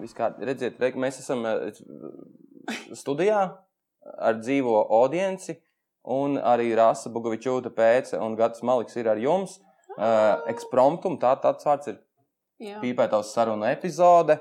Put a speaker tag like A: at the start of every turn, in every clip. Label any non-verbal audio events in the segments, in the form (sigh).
A: Viskārdi, redziet, re, mēs esam eh, studijā ar dzīvo audienci, un arī Rasa Bogovičūta pēc, un Gatis Maliks ir ar jums. Uh, ekspromptum, tā, tāds vārds ir
B: Jā.
A: pīpētās sarunu epizode.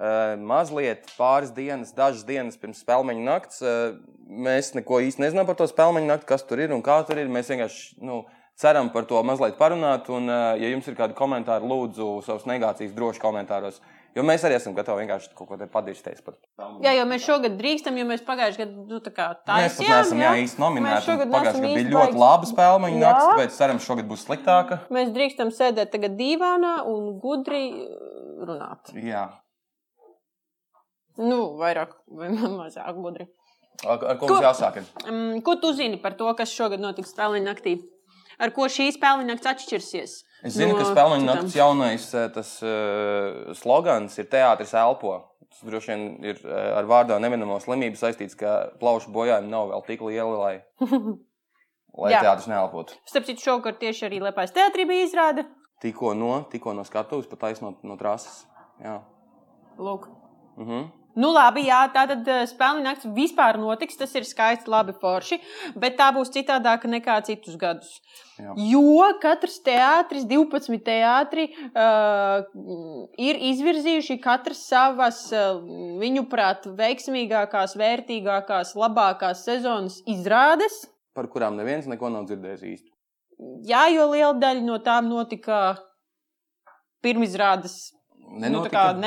A: Uh, mazliet pāris dienas, dažas dienas pirms spēļu nakts. Uh, mēs neko īsti nezinām par to spēļu nakti, kas tur ir un kā tur ir. Mēs vienkārši nu, ceram par to mazliet parunāt. Un, uh, ja jums ir kādi komentāri, lūdzu, savus negācijas droši komentāros. Jo mēs arī esam gatavi vienkārši kaut ko te padirties par spēļu.
B: Jā, jo mēs šogad drīkstam, jo mēs pagājušajā gadā nu, tā kā
A: Mēs pat
B: taisījām.
A: neesam jā,
B: jā.
A: īsti nominēti.
B: Mēs šogad
A: Pagājušajā
B: neesam
A: gadā bija
B: īsti
A: ļoti
B: baigi-
A: laba spēļu
B: Jā.
A: nakts, bet ceram, šogad būs sliktāka.
B: Mēs drīkstam sēdēt tagad dīvānā un gudri uh, runāt.
A: Jā.
B: Nu, vairāk vai (laughs) mazāk gudri.
A: Ar, ar ko
B: Ko-
A: mums jāsāk?
B: Um, ko tu zini par to, kas šogad notiks spēļu naktī? Ar ko šī spēļu nakts atšķirsies?
A: Es zinu, ka
B: no
A: Spēļņu
B: citām?
A: naktas jaunais eh, tas, uh, slogans ir teātris elpo. Tas droši vien ir eh, ar vārdā nevienamo slimību saistīts, ka plaušu bojājumi nav vēl tik lieli, lai,
B: (laughs)
A: lai
B: Jā.
A: teātris neelpotu.
B: Starp citu, šovakar tieši arī Lepojas teātrī bija izrāde.
A: Tikko no, tikko no skatuves, pat taisnot no trases. Jā.
B: Lūk.
A: Uh -huh.
B: Nu, labi, jā, tā tad spēļu naktis vispār notiks. Tas ir skaisti, labi, forši. Bet tā būs citādāka nekā citus gadus.
A: Jā.
B: Jo katrs teātris, 12 teātri, uh, ir izvirzījuši katrs savas, uh, viņuprāt, veiksmīgākās, vērtīgākās, labākās sezonas izrādes.
A: Par kurām neviens neko nav dzirdējis īsti.
B: Jā, jo liela daļa no tām notika pirmizrādes Nu, tā kā
A: Nenotika.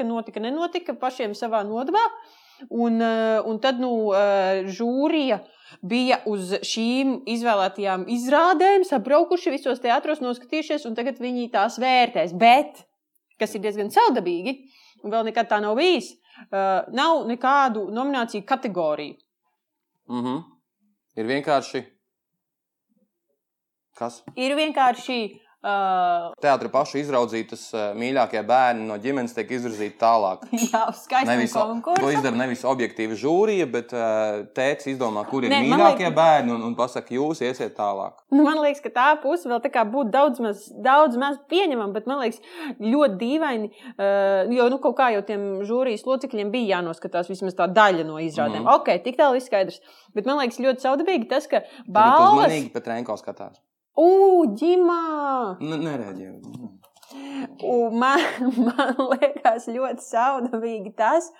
B: nenotika, notika, nenotika pašiem savā nodabā. Un, eh, un tad nu, eh, žūrija bija uz šīm izvēlētajām izrādēm, sabraukuši visos teātros, noskatījušies, un tagad viņi tās vērtēs. Bet, kas ir diezgan savdabīgi, un vēl nekad tā nav bijis, eh, nav nekādu nomināciju kategoriju.
A: Uh -huh. Ir vienkārši. Kas?
B: Ir vienkārši (laughs) uh,
A: Teātris pašu izraudzītas eh, mīļākie bērni no ģimenes tiek izvirzīti tālāk. Nevis,
B: jāuzskaita
A: to
B: konkursu.
A: izdara nevis objektīva žūrija, bet uh, tēvs izdomā, kur ir
B: Nē, man
A: mīļākie
B: liekas-
A: bērni un, un pasaka, jūs iesiet tālāk.
B: Nu, man liekas, ka tā puse vēl tā kā būtu daudz maz, daudz maz pieņemama, bet man liekas, ļoti dīvaini. Uh, jo nu, kaut kā jau tiem žūrijas locekļiem bija jānoskatās vismaz tā daļa no izrādēm.
A: Mhm.
B: Mm. Ok, tik tālu izskaidrs. Bet man liekas, ļoti saudabīgi tas, ka
A: Tad jūs
B: balvas.
A: uzmanīgi pēc Renko Nu, skatās.
B: Uģimā!
A: N nereaģēju.
B: Man, (laughs) man liekas, ļoti saudabīgi tas,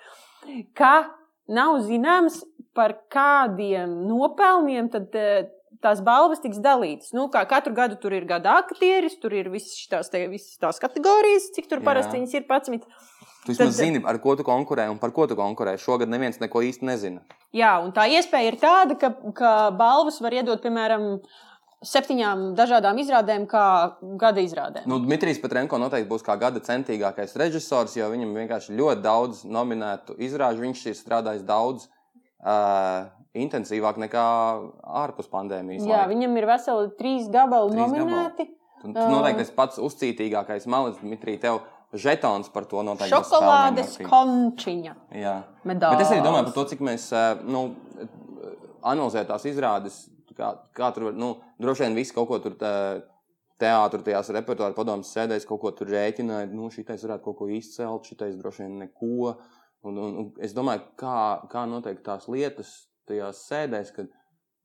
B: ka nav zināms, par kādiem nopelniem tad, eh, tās balvas tiks dalītas. Nu, kā katru gadu tur ir gada aktieris, tur ir visas šīs visas tās kategorijas, cik tur
A: Jā.
B: parasti viņas ir 11.
A: Tu vismaz
B: Tad-
A: zini, ar ko tu konkurē un par ko tu konkurē. Šogad neviens neko īsti nezina.
B: Jā, un tā iespēja ir tāda, ka, ka balvas var iedot piemēram septiņām dažādām izrādēm, kā gada izrādēm.
A: Nu, Dmitrijs Petrenko noteikti būs kā gada centīgākais režisors, jo viņam vienkārši ļoti daudz nominētu izrāžu. Viņš ir strādājis daudz uh, intensīvāk nekā ārpus pandēmijas.
B: Jā,
A: laika.
B: viņam ir veseli trīs gabali
A: Trīs
B: nominēti.
A: Un tas
B: Um,
A: noteikti tas pats uzcītīgākais malis, Dmitrij, tev žetons par to noteikti. būs
B: Šokolādes
A: spēlēm, jā.
B: končiņa
A: Jā.
B: medaļa.
A: Bet es arī domāju par to, cik mēs eh, nu, eh, analizējam tās izrādes. Kā, kā tur, var- nu, droši vien viss kaut ko tur teātros, tajās repertuāra padomus sēdēs, kaut ko tur rēķināja. Nu, šitais varētu kaut ko izcelt, šitais droši vien neko. Un, un, un es domāju, kā, kā noteikti tās lietas tajās sēdēs, kad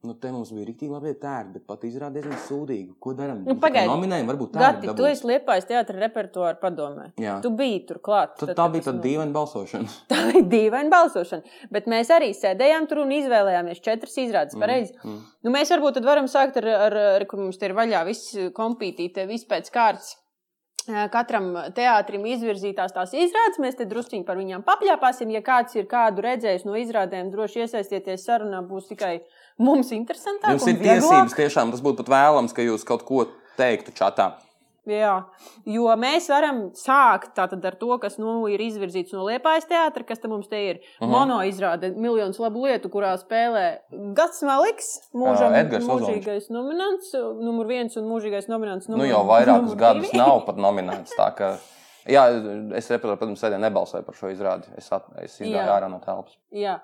A: nu, te mums bija rīktīgi labi tērti, bet pat izrādās diezgan sūdīgi. Ko darām?
B: Nu, pagaidi.
A: Nominējumi varbūt
B: Gati,
A: tādi.
B: tu esi liepājis teātris repertuāra padomē.
A: Jā.
B: Tu biji tur klāt.
A: Tad tā bija
B: tas
A: tāda
B: notika.
A: dīvaina balsošana.
B: (laughs) Tā bija dīvaina balsošana. Bet mēs arī sēdējām tur un izvēlējāmies četras izrādes. Pareizi.
A: Mm.
B: Nu, mēs varbūt tad varam sākt ar, ar, ar ka mums te ir vaļā viss kompītīte, viss pēc kārtas. Eh, Katram teātrim izvirzītās tās izrādes, mēs te druskuļi par viņām papļāpāsim. Ja kāds ir kādu redzējis no izrādēm, droši iesaistieties sarunā, būs tikai mums interesantāk.
A: Jums
B: un
A: ir
B: vieglāk.
A: tiesības, tiešām tas būtu pat vēlams, ka jūs kaut ko teiktu čatā.
B: Jā, jo mēs varam sākt tātad ar to, kas nu, ir izvirzīts no Liepājas teātra, kas te mums te ir. Uh
A: Mhm.
B: -huh. Mono izrāda miljonus labu lietu, kurā spēlē Gans Maliks, mūžam,
A: Ā, Edgars Ozoliņš.
B: mūžīgais nominants, numur viens un mūžīgais nominants.
A: Nu,
B: numur-
A: jau vairākus
B: numur
A: gadus
B: divi.
A: nav pat nominēts. tā ka- Jā, es saprotu, protams, arī nebalsoju par šo izrādi. Es, at, es izgāju
B: Jā.
A: ārā no telpas.
B: Jā.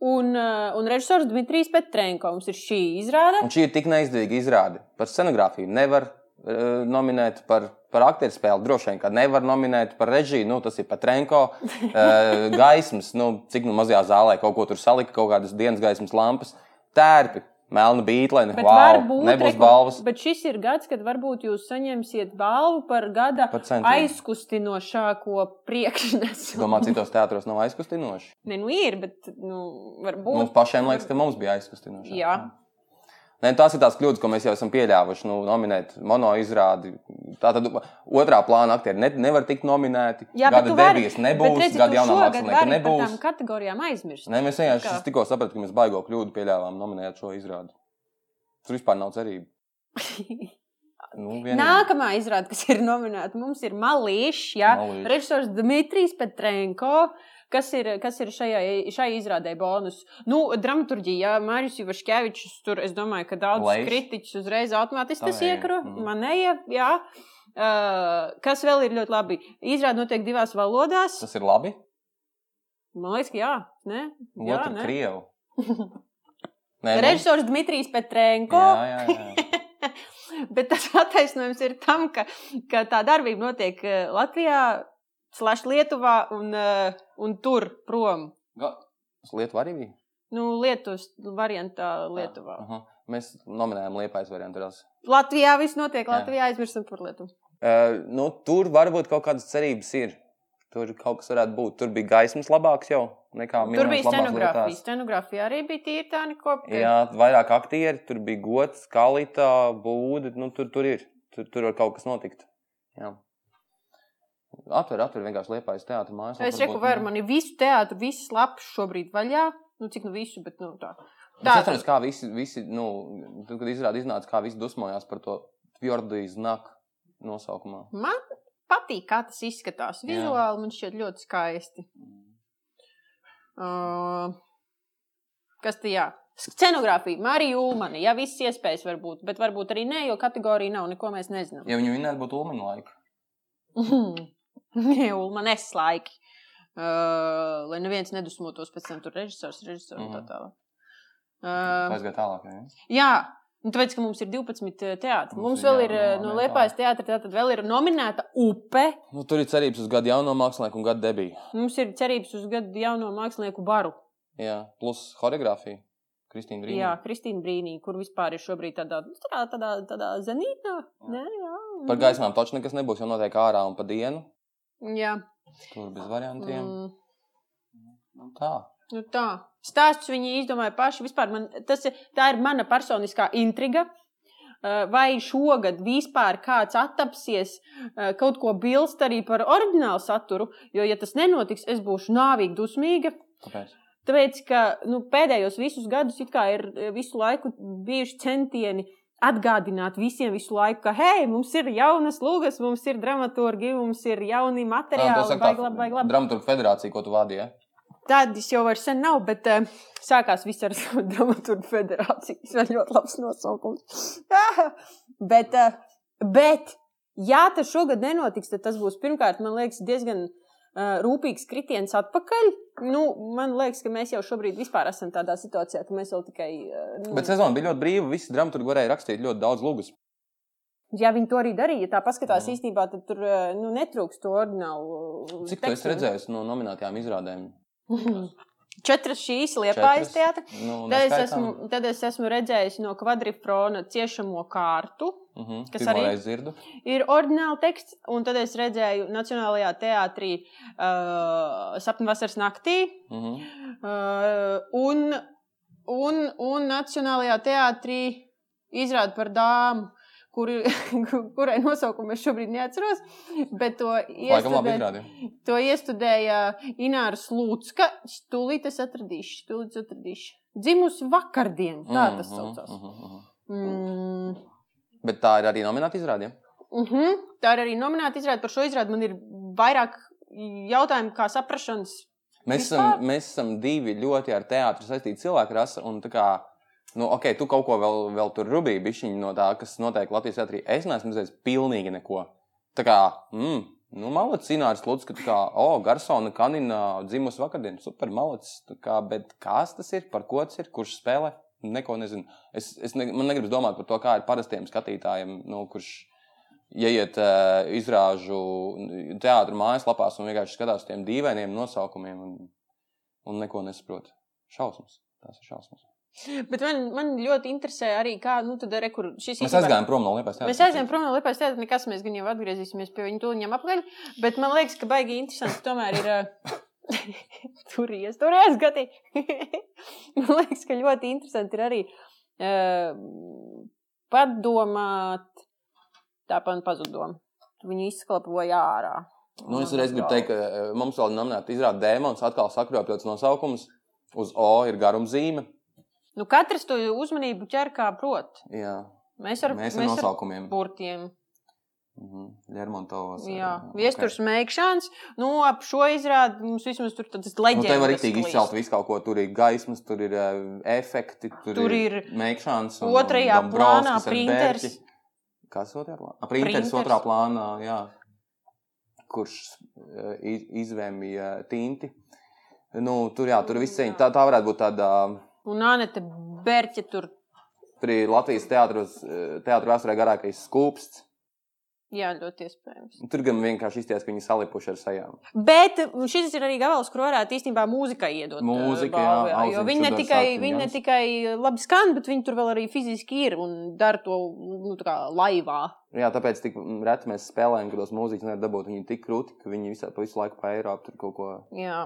B: Un, uh, un režisors Dmitrijs Petrenko mums ir šī izrāde.
A: Un šī ir tik neizdevīga izrāde. Par scenogrāfiju nevar uh, eh, nominēt, par, par aktieru spēli. Droši vien, ka nevar nominēt par režiju, nu, tas ir pat renko
B: (laughs)
A: uh, gaismas, nu, cik nu mazajā zālē kaut ko tur salika, kaut kādas dienas gaismas lampas, tērpi. Melna beiglaini.
B: Bet,
A: Wow,
B: varbūt,
A: Mm, nebūs
B: reku,
A: balvas.
B: bet šis ir gads, kad varbūt jūs saņemsiet balvu par gada
A: Par centienu.
B: aizkustinošāko priekšnesu.
A: Domā, citos teātros nav aizkustinoši.
B: Nē, nu ir, bet nu, varbūt.
A: Mums pašiem liekas, ka mums bija aizkustinoši.
B: Jā.
A: Nē, tās ir tās kļūdas, ko mēs jau esam pieļāvuši. Nu, nominēt mono izrādi. Tā tad otrā plāna aktieri ne, nevar tikt nominēti.
B: Jā, bet
A: gada
B: tu vari-
A: debijas
B: bet
A: nebūs,
B: redzi, tu
A: gada jaunā
B: šogad
A: mākslinieka
B: vari Par
A: nebūs.
B: tām kategorijām aizmirst.
A: Nē, mēs
B: Kā?
A: vienkārši es tikko sapratām, ka mēs baigo kļūdu pieļāvām nominēt šo izrādi. Tur vispār nav
B: (laughs)
A: cerību. Nu, vienīgi.
B: Nākamā izrāde, kas ir nominēta, mums ir Malīša. Jā,
A: Malīšs.
B: režisors Dmitrijs Petrenko. Kas ir, kas ir šajā, šai izrādē bonus? Nu, dramaturgijā Mārcis Kalniņš tur, es domāju, ka daudz
A: Lejs.
B: kritiķus uzreiz automātiski tas
A: Tavējie,
B: iekro.
A: mhm.
B: Manēja, jā. Uh, kas vēl ir ļoti labi? Izrāde notiek divās valodās.
A: Tas ir labi.
B: Man liekas, ka jā. Ne? Jā,
A: Otra
B: ne? (laughs)
A: krievu. Nē,
B: Režisors Dmitrijs Petrenko.
A: Jā, jā, jā.
B: Bet tas attaisnojums ir tam, ka, ka tā darbība notiek eh, Latvijā, Slash Lietuvā un, eh, un tur prom.
A: Ga- Tas Lietuva arī bija.
B: Nu, Lietuvas variantā Lietuvā.
A: Aha. Mēs nominējām liepais variantu. Tās.
B: Latvijā viss notiek,
A: Jā.
B: Latvijā aizmirstam par Lietuvu.
A: Uh, nu, tur varbūt kaut kādas cerības ir. Tur kaut kas varētu būt. Tur bija gaismas labāks jau nekā
B: Tur
A: miljonos
B: bija
A: labās
B: scenogrāfija.
A: lietās.
B: Scenogrāfija arī bija tīra tā nekopīga.
A: Jā, vairāk aktieri, tur bija gods, kalita, būda. Nu, tur, tur ir. Tur, tur var kaut kas notikt. Jā. Atver, atver vienkārši liepais teātris nu. mājas.
B: Es reku, vai man ir visu teātru, visas lapas šobrīd vaļā. Nu, cik nu visu, bet nu tā.
A: Tā ir. Kā visi, visi nu, tad, kad izrādi iznāca, kā visi dusmojās par to fjordiju znaku nosaukumā.
B: Man patīk, kā tas izskatās.
A: Jā. Mm.
B: Vizuāli man šķiet ļoti skaisti. Uh, kas tas ir? Scenogrāfija, Marija Ulmane. Jā, viss iespējas var būt, bet varbūt arī nē, jo kategorija nav, neko mēs nezinām.
A: Ja viņu vienmēr būtu ulmaņa laika.
B: (laughs) Nē, Ulmane, es laiki. Uh, lai neviens nedusmotos pēc tam, tur režisors, režisors un tā
A: Mhm.
B: tālāk.
A: Um,
B: Uh,
A: Aizgāja tālāk. Ja?
B: jā, nu, tāpēc, ka mums ir 12 teātris.
A: Mums
B: Mums
A: ir,
B: vēl
A: jā,
B: ir uh, no
A: nominēta.
B: Liepājas teātris, tātad vēl ir nominēta upe.
A: Nu, tur ir cerības uz gadu jauno mākslinieku un gadu debiju.
B: Mums ir cerības uz gadu jauno mākslinieku baru.
A: Jā, plus choreogrāfija. Kristīna Brīsīs.
B: Jā, Kristīna Brīnī, kur vispār ir šobrīd tādā, nu, tādā, tādā, tādā zenītā. Nē, jā.
A: Par gaismām taču nekas nebūs, jo notiek ārā un pa dienu.
B: Jā,
A: Tur bez variantiem.
B: mm,
A: Mm. Tā.
B: nu tā. Stāsts viņi izdomāja paši. Vispār man, tas, ir- tā ir mana personiskā intriga. Eh, Vai šogad vispār kāds attapsies, eh, kaut ko bilst arī par oriģinālu saturu? Jo, ja tas nenotiks, es būšu nāvīgi dusmīga.
A: Kāpēc?
B: Tāpēc, ka nu, pēdējos visus gadus it kā ir e, visu laiku bijuši centieni atgādināt visiem visu laiku, ka, hei, mums ir jaunas lūgas, mums ir dramaturgi, mums ir jauni materiāli,
A: saka
B: baigi, labi, baigi, labi.
A: dramaturgu federācija, ko tu vadīji.
B: Tādas jau vairs sen nav, bet e, sākās viss ar (laughs) dramaturgu federāciju. Tas ir ļoti labs nosaukums. (laughs) bet, e, bet, ja tas šogad nenotiks, tad tas būs pirmkārt, man liekas, diezgan. e, Rūpīgs kritiens atpakaļ. Nu, man liekas, ka mēs jau šobrīd vispār esam tādā situācijā, ka mēs vēl tikai. e,
A: Ja?
B: Nu,
A: Bet sezona bija ļoti brīva. Visi dramaturgi varēja rakstīt ļoti daudz lūgus.
B: ja viņi to arī darīja, ja tā paskatās
A: Jā.
B: mm. īstenībā, tad tur e, nu, netrūks to ordinālu. eh,
A: Cik tādu es redzēju no nominētajām izrādēm?
B: redzēju? (laughs) Četras šīs liepājas
A: Četras?
B: teātris.
A: Nu,
B: Tad es, esmu, tad es esmu redzējis no kvadrifrona ciešamo kārtu.
A: Uh -huh.
B: kas
A: Kas arī
B: arī-
A: es dzirdu?
B: Ir oriģināli teksts, un tad es redzēju Nacionālajā teātrī uh, sapņu vasaras naktī.
A: Uh -huh.
B: Uh, un, un, un Nacionālajā teātrī izrāda par dāmu, kur, (laughs) kurai nosaukumu es šobrīd neatceros. Bet to
A: Laikam labi
B: iestudēju,
A: izrādīja.
B: to iestudēja Ināra Slūcka. Tūlīt es atradīšu, tūlīt es atradīšu. Dzimusi vakardien, tā tas saucās.
A: Uh -huh, uh -huh.
B: Mm.
A: Bet tā ir arī nominēta izrādē.
B: Uh -huh. Tā ir arī nominēta izrāde. Par šo izrādi man ir vairāk jautājumu, kā saprašanas.
A: Mēs
B: Vispār?
A: esam, mēs esam divi ļoti ar teātru saistīti cilvēki. Rasa, un tā kā, nu, ok, tu kaut ko vēl, vēl tur rubīji, bišķiņi no tā, kas notiek Latvijas teātrī. Es neesmu redzējis pilnīgi neko. Tā kā, mm, nu, malacis, Inārs Lūdzu, ka tā kā, o, oh, Garsona kanina dzimusi vakardien, super malacis. tā Kā, bet kas tas ir, par ko tas ir, kurš spēlē? Neko nezinu. Es, es ne, man negribu domāt par to, kā ir parastiem skatītājiem, nu, kurš ieiet uh, izrāžu teātrus mājaslapās un vienkārši skatās tiem dīvainiem nosaukumiem un, un neko nesaprot. Šausmas. Tas ir šausmas.
B: Bet man, man ļoti interesē arī, kā nu, tad, re, kur šis
A: Mēs aizgājām prom no Lietuvas.
B: Mēs aizējām prom no Lietuvas, tad nekas mēs gan jau atgriezīsimies pie viņa tūlņiem apakaļ. Bet man liekas, ka baigi interesanti tomēr ir. (laughs) ā, Turies, turies, gati. (laughs) Man liekas, ka ļoti interesanti ir arī ā, padomāt. Tā man pazudoma. Viņu izklapoja ārā.
A: Nu, es reiz gribu teikt, ka eh, mums vēl nominēta izrāda dēmons, atkal sakropļots nosaukums. Uz O ir garumzīme.
B: Nu, katrs to uzmanību ķer kā prot.
A: Jā,
B: Mēs ar,
A: mēs ar nosaukumiem. Mhm.
B: burtiem.
A: Lermontovas. eh,
B: Jā, viestures okay. meklēšanas. Nu, ap šo izrādi mums vismaz tur tādas leģendas.
A: Nu, te var rīktīgi izcelt visu kaut ko. Tur ir gaismas, tur ir uh, efekti, tur,
B: Tur ir
A: mēkšanas.
B: otrajā plānā printers.
A: Kas otrajā plānā? A, printers,
B: Printers.
A: printers otrā plānā, jā. Kurš uh, iz- izvēmīja tinti. Nu, tur jā, tur viss cieņa. Tā, tā varētu būt tāda.
B: Un Anete Berķa tur.
A: Tur ir Latvijas teātros, eh, teātru vēsturē garākais skūpsts.
B: Jā, ļoti iespējams.
A: Tur gan vienkārši izties, ka viņi salipuši ar sajām.
B: Bet šis ir arī gabals, kur varētu īstenībā mūzikai iedot. eh,
A: Mūzika, jā,
B: balvu, jo
A: Alziņš
B: viņi ne
A: Udars,
B: tikai,
A: Artiņš
B: viņi ne
A: Jans.
B: tikai labi skan, bet viņi tur vēl arī fiziski ir un dara to nu, tā kā laivā.
A: Jā, tāpēc tik reti mēs spēlējam, ka tos mūziķus nevar dabūt. Viņi ir tik krūti, ka viņi visu, visu laiku pa Eiropu tur kaut ko
B: Jā.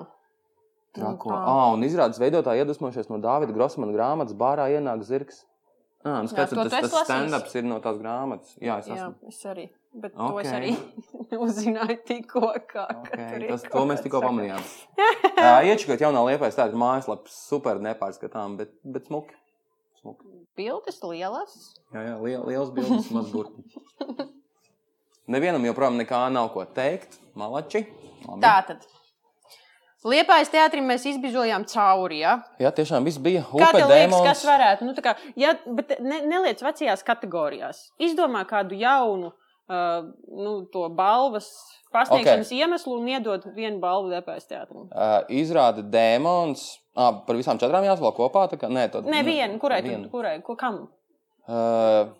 A: trako.
B: Nu, tā.
A: Ah, un izrādās veidotāji iedvesmojušies no Dāvida Grosmana grāmatas, bārā ienāk zirgs. Ah, nu,
B: Jā,
A: skatās,
B: to
A: tas,
B: tu esi
A: tas stand-ups ir no tās grāmatas. Jā, es
B: Jā,
A: esmu.
B: es arī. Bet okay. to es
A: Ok.
B: arī (laughs) uzzināju tikko. kā, ka tur
A: Okay,
B: ir
A: tas,
B: kaut
A: to mēs
B: kāds
A: tikko
B: sakars.
A: pamanījām.
B: (laughs)
A: Iečakot jaunā liepā, es tādu mājaslapu super nepārskatām, bet, bet smuki. smuki.
B: Bildes lielas.
A: Jā, jā liel, liels bildes, maz burti. (laughs) Nevienam joprojām nekā nav ko teikt. Malači. Labi.
B: Tā tad. Liepais teātrim mēs izbijojām cauri. Ja?
A: Jā, tiešām viss bija
B: Kā
A: upe
B: tev liekas,
A: dēmons.
B: kas varētu? Nu, tā kā, ja, bet ne, neliec vecajās kategorijās. Izdomā kādu jaunu uh, nu, to balvas pasniegšanas okay. iemeslu un iedod vienu balvu Liepais teātrim.
A: Uh, izrāda dēmons. Ah, par visām četrām jāsvalk kopā. tā Kā, nē, tad,
B: Nē, vienu, kurai, tu,
A: vienu.
B: kurai, ko, kam?
A: Uh,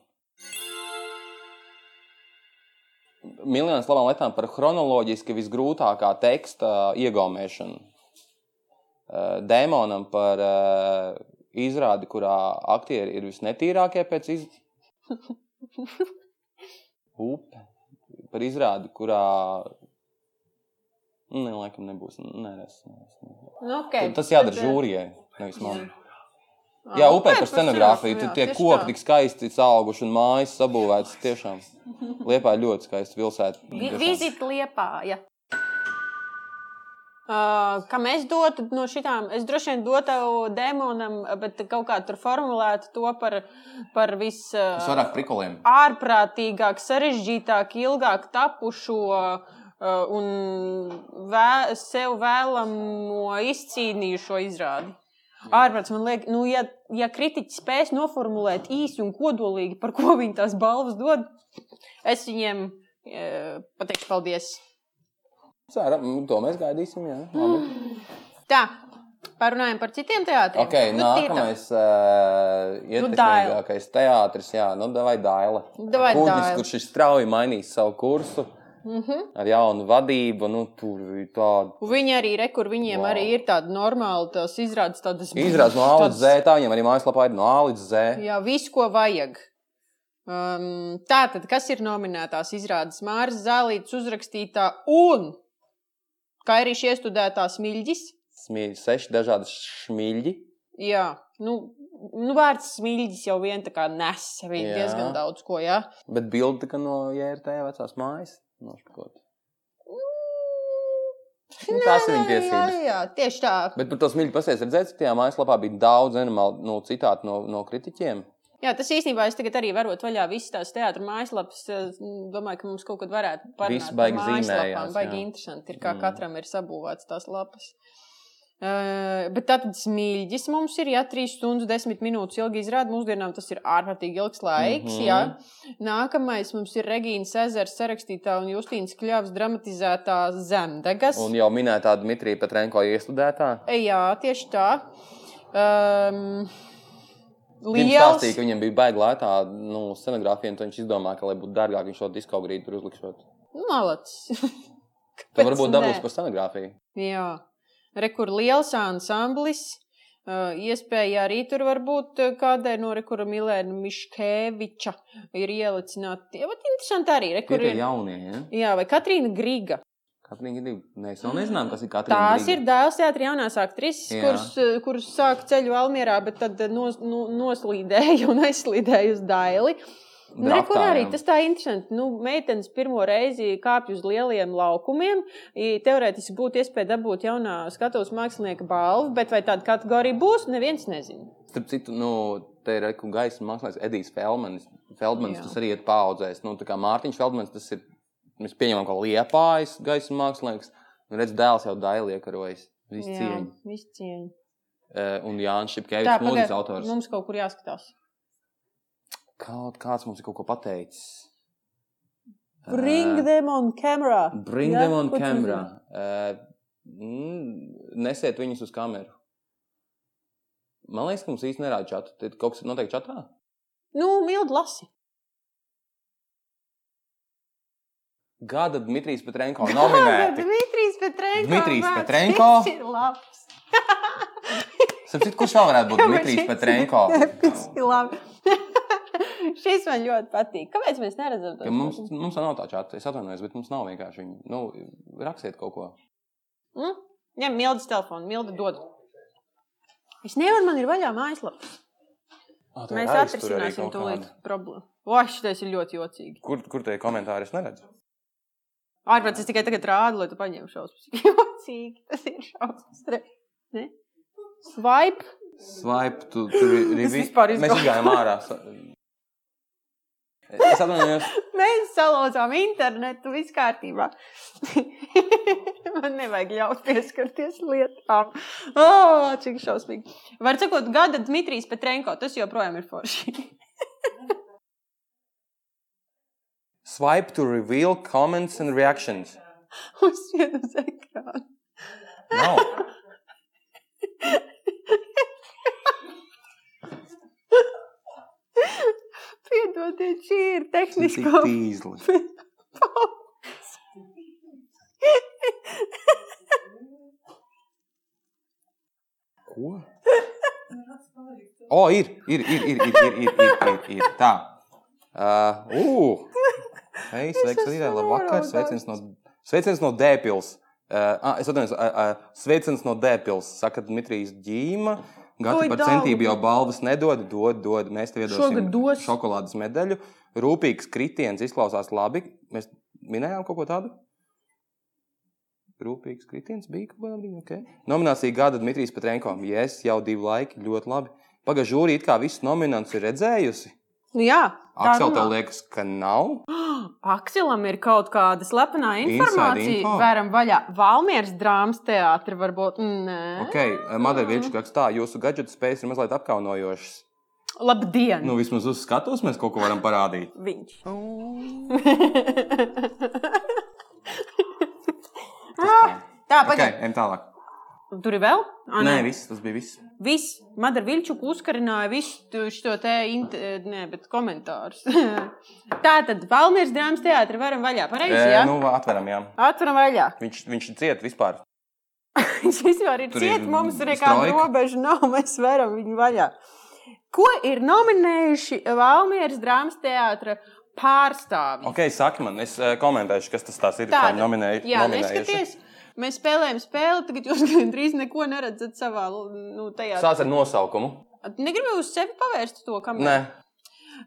A: Miljonus labām lietām par chronoloģiski visgrūtākā teksta eh, iegaumēšanu. Uh, Dēmonam par uh, izrādi, kurā aktieri ir visnetīrākie pēc iz... upe. Par izrādi, kurā. Nē, laikam nebūs. Nē, es, nē, es, nē.
B: Nu, okay.
A: Tas jādara
B: Bet,
A: jūrijai, nevis man.
B: Jā. ā,
A: Jā, upē par
B: Ah, par
A: scenogrāfiju.
B: scenogrāfiju,
A: Tur
B: jā,
A: tie
B: tieši tā.
A: koki tik skaisti auguši un mājas sabūvētas. Tiešām Liepā ir ļoti skaista pilsēta.
B: Vi-
A: Tiešām.
B: Vizit liepā. Ja. Uh, kam es dotu no šitām? Es droši vien dotu demonam, bet kaut kā tur formulētu to par, par vis.
A: Tas
B: Uh,
A: vairāk prikoliem.
B: ārprātīgāk, sarežģītāk, ilgāk tapušo. uh, Un vē, sev vēlamo izcīnījušo izrādi. Ārprāts, man liekas, nu, ja, ja kritiķis spēs noformulēt īsi un kodolīgi, par ko viņi tās balvas dod, es viņiem eh, pateikšu paldies.
A: Cēra, mm, to mēs gaidīsim. Jā,
B: Mm.
A: Labi.
B: Tā, parunājam par citiem teātriem. Nu,
A: okay, nākamais uh, ietekmīgākais teātris, jā, nu, vai Daila.
B: Davai,
A: Kuģis,
B: Daila.
A: kurš ir strauji mainījis savu kursu
B: Mm -hmm.
A: ar jaunu vadību, nu, tur ir tāda.
B: Viņi arī ir, kur viņiem
A: Wow.
B: wow. arī ir tāda normāla, tās izrādes tādas
A: Izrādās no A līdz
B: tādas-
A: Z, tā viņam arī mājaslapā ir no A līdz Z.
B: Jā, visu, ko vajag. Um, tā tad, kas ir nominētās izrādes Mārs Zālīts uzrakstītā un kā arī šī iestudētā smilģis?
A: Smilji, seši dažādi smilji.
B: Jā, nu, nu vārds smilģis jau vien tā kā nes arī
A: Jā.
B: diezgan daudz ko, jā.
A: Bet bilde tika no JRT vecās mājas. Nošpakot. Nu, tās ir viņa
B: Nē, Jā,
A: tiesības.
B: jā, tieši tā.
A: Bet nu, par to smilšu pasēs redzēt, ka tajā mājaslapā bija daudz animālu no citātu no, no kritiķiem.
B: Jā, tas īstenībā es tagad arī varot vaļā visas tās teātras mājaslapas. Es Domāju, ka mums kaut kad varētu
A: Viss
B: parunāt
A: baigi zīmējās,
B: mājaslapām. Baigi
A: jā.
B: interesanti ir, kā
A: Mm.
B: mm. katram ir sabūvēts tās lapas. Uh, bet tātad smilģis mums ir, ja 3 stundas 10 minūtes ilgi izrāda, mūsdienām tas ir ārkārtīgi ilgs laiks.
A: Mhm.
B: Mm -hmm. Nākamais mums ir Regīnas ezera sarakstītā un Justīnas Kļavas dramatizētā Zemdegas.
A: Un jau minētā Dmitrija Petrenko iestudētā.
B: Ehm, Jā, tieši tā. Um,
A: Viņš
B: liels.
A: stāstīja, ka viņam bija baigta lētā nu, scenogrāfija, un tad viņš izdomāja, ka, lai būtu dārgāk, viņš šo disko grīdu tur uzliksot.
B: Nu, Malacis. (laughs)
A: Tad
B: Kāpēc
A: varbūt
B: nē?
A: dabūs par scenogrāfiju.
B: Jā, rekur liels ansamblis. Uh, Iespēja arī tur var būt uh, kādai no rekura Milēna Miškēviča ir ielicināta. Jā, bet interesanti arī,
A: Tie
B: rekur
A: ir
B: ir.
A: jaunie. Ja?
B: Jā, vai Katrīna Griga.
A: Katrīna gadījumā mēs vēl nezinām, kas ir Katrīna.
B: Tās
A: Griga.
B: ir dēls teātris, jaunās aktrises,
A: Jā.
B: kuras, eh, kuras sāka ceļu Almjerā, bet tad eh, nos, nu, noslīdēja un aizslīdēja uz daili. Nu, re, kur arī
A: Draftājām.
B: tas tā interesanti. Nu, meitenes pirmo reizi kāpj uz lieliem laukumiem. I- Teorētiski būtu iespēja dabūt jaunā skatuves mākslinieka balvu, bet vai tāda kategorija būs, neviens nezina.
A: Starp citu, nu, te ir reku gaisa mākslinieks Edijs Feldmanis. Feldmanis
B: Jā.
A: tas arī ir paudzēs. Nu, tā kā Mārtiņš Feldmanis, tas ir, mēs pieņemam, ka liepājas gaisa mākslinieks. Un redz, dēls jau daļai iekarojas. Viss cieņa.
B: izcieņa.
A: Eh, Un Jānis
B: Tā, nu-
A: Šepkevičs, mūzikas
B: pagaid,
A: autors.
B: mums kaut kur jāskatās.
A: Kaut kāds mums ir kaut ko pateicis. Eh,
B: Bring them on camera.
A: Bring
B: Jā,
A: them on
B: ko tu
A: camera. Uh, mm, nesiet viņus uz kameru. Man liekas, ka mums īstenībā nerāda čatu. Tad kaut kas notiek čatā.
B: Nu, Milda lasi.
A: Gada Dmitrijs
B: (laughs)
A: Petrenko
B: Tātad
A: nominēti.
B: Dmitrijs Petrenko.
A: Dmitrijs
B: vārds.
A: Petrenko.
B: Šis ir labs.
A: Sapratu, kurš vēl varētu būt Dmitrijs
B: Šis- (laughs)
A: Petrenko?
B: Šis ir labi. (laughs) Šis man ļoti patīk. Kāpēc mēs neredzam to?
A: Ka mums, mums vēl nav tā čata. Es atvainojos, bet mums nav vienkārši viņa. Nu, rakstiet kaut ko.
B: Mm? Ņem Mildas telefonu, Milda dod. Es nevaru, man ir vaļā mājaslapa.
A: Ah, tev ir
B: Mēs
A: aiztur arī
B: atrisināsim
A: kaut
B: tūlīt
A: kādu.
B: problēmu. O, šis ir ļoti jocīgi.
A: Kur, kur tie komentāri es neredzu?
B: Ārpēc es tikai tagad rādu, lai tu paņem šausmas. (laughs) Jocīgi, tas ir šausmas. Re- Ne? Swipe.
A: Swipe, tu tur ir
B: (laughs) Es
A: vi-
B: vispār
A: Mēs
B: izgāju.
A: gājām ārā. Es atvainojos.
B: Mēs salozām internetu, viss kārtībā. (laughs) Man nevajag ļaut pieskarties lietām. Oh, cik šausmīgi. Var sakot, gada Dmitrijs Petrenko, tas joprojām ir forši. (laughs)
A: Swipe to reveal comments and
B: (laughs)
A: reactions.
B: Uz vienas ekrāna.
A: Nav.
B: (laughs) Piedodiet, šī
A: Tas ir
B: ir tehniska
A: tīzli.
B: (laughs)
A: Ko? O, ir, ir, ir, ir, ir, ir, ir, ir, ir, ir. tā. Uh, uh. Hei, sveiks,
B: esmu
A: arī labvakar.
B: noraudājusi.
A: Sveiciens no, sveiciens no Dēpils. Uh, ah, es atvainojos, uh, uh, sveiciens no Dēpils. Saka Dmitrijs Ģīma.
B: Oi,
A: Gati par
B: daudz.
A: centību jau balvas nedod, dod, dod. Mēs tev iedosim
B: Šogad dos.
A: šokolādes medaļu. Rūpīgs kritiens izklausās labi. Mēs minējām kaut ko tādu. Rūpīgs kritiens bija kaut kādā brīdī. Okay. Nominācija gada Dmitrijs Petrenko. Yes, jau divi laiki, ļoti labi. Pagaidā žūri it kā visas nominants ir redzējusi.
B: (laughs) Nu jā, tā
A: Aksel,
B: runā.
A: tev liekas, ka nav.
B: Akselam ir kaut kāda slepenā
A: Inside
B: informācija.
A: info.
B: Vēram vaļā Valmieras drāmas teātri varbūt. Nē.
A: Okay, Madara Virčs rakstā, jūsu gadgetu spējas ir mazliet apkaunojošas.
B: Labdien!
A: Nu, vismaz uz skatuves mēs kaut ko varam parādīt.
B: Viņš. (laughs) Ah, Tā,
A: Okay,
B: pagaidi.
A: ejam tālāk.
B: Okay. Tur ir vēl? Ā,
A: Nē, viss, tas bija viss.
B: Viss. Madara Viļčuka uzkarināja visu šo te int... Nē, bet komentārus. (laughs) tā tad Valmieras drāmas teātri varam vaļā. Pareizi,
A: E,
B: jā?
A: nu, atveram, jā.
B: Atveram vaļā. (laughs) Viņš
A: Viņš, viņš cieta vispār.
B: vispār ir
A: Tur ir
B: ciet, mums ir
A: straika.
B: nekāda robeža nav, (laughs) mēs varam viņu vaļā. Ko ir nominējuši Valmieras drāmas teātra pārstāvji?
A: Ok, saki man, es eh, komentēšu, kas tas tās ir.
B: Tāda.
A: kā nominēju,
B: Jā,
A: nominējuši.
B: neskaties, mēs spēlējam spēli, tagad jūs (laughs) gandrīz neko neredzat savā nu, tajā.
A: Sāc ar nosaukumu.
B: Negribu uz sevi pavērst to, kam
A: Nē,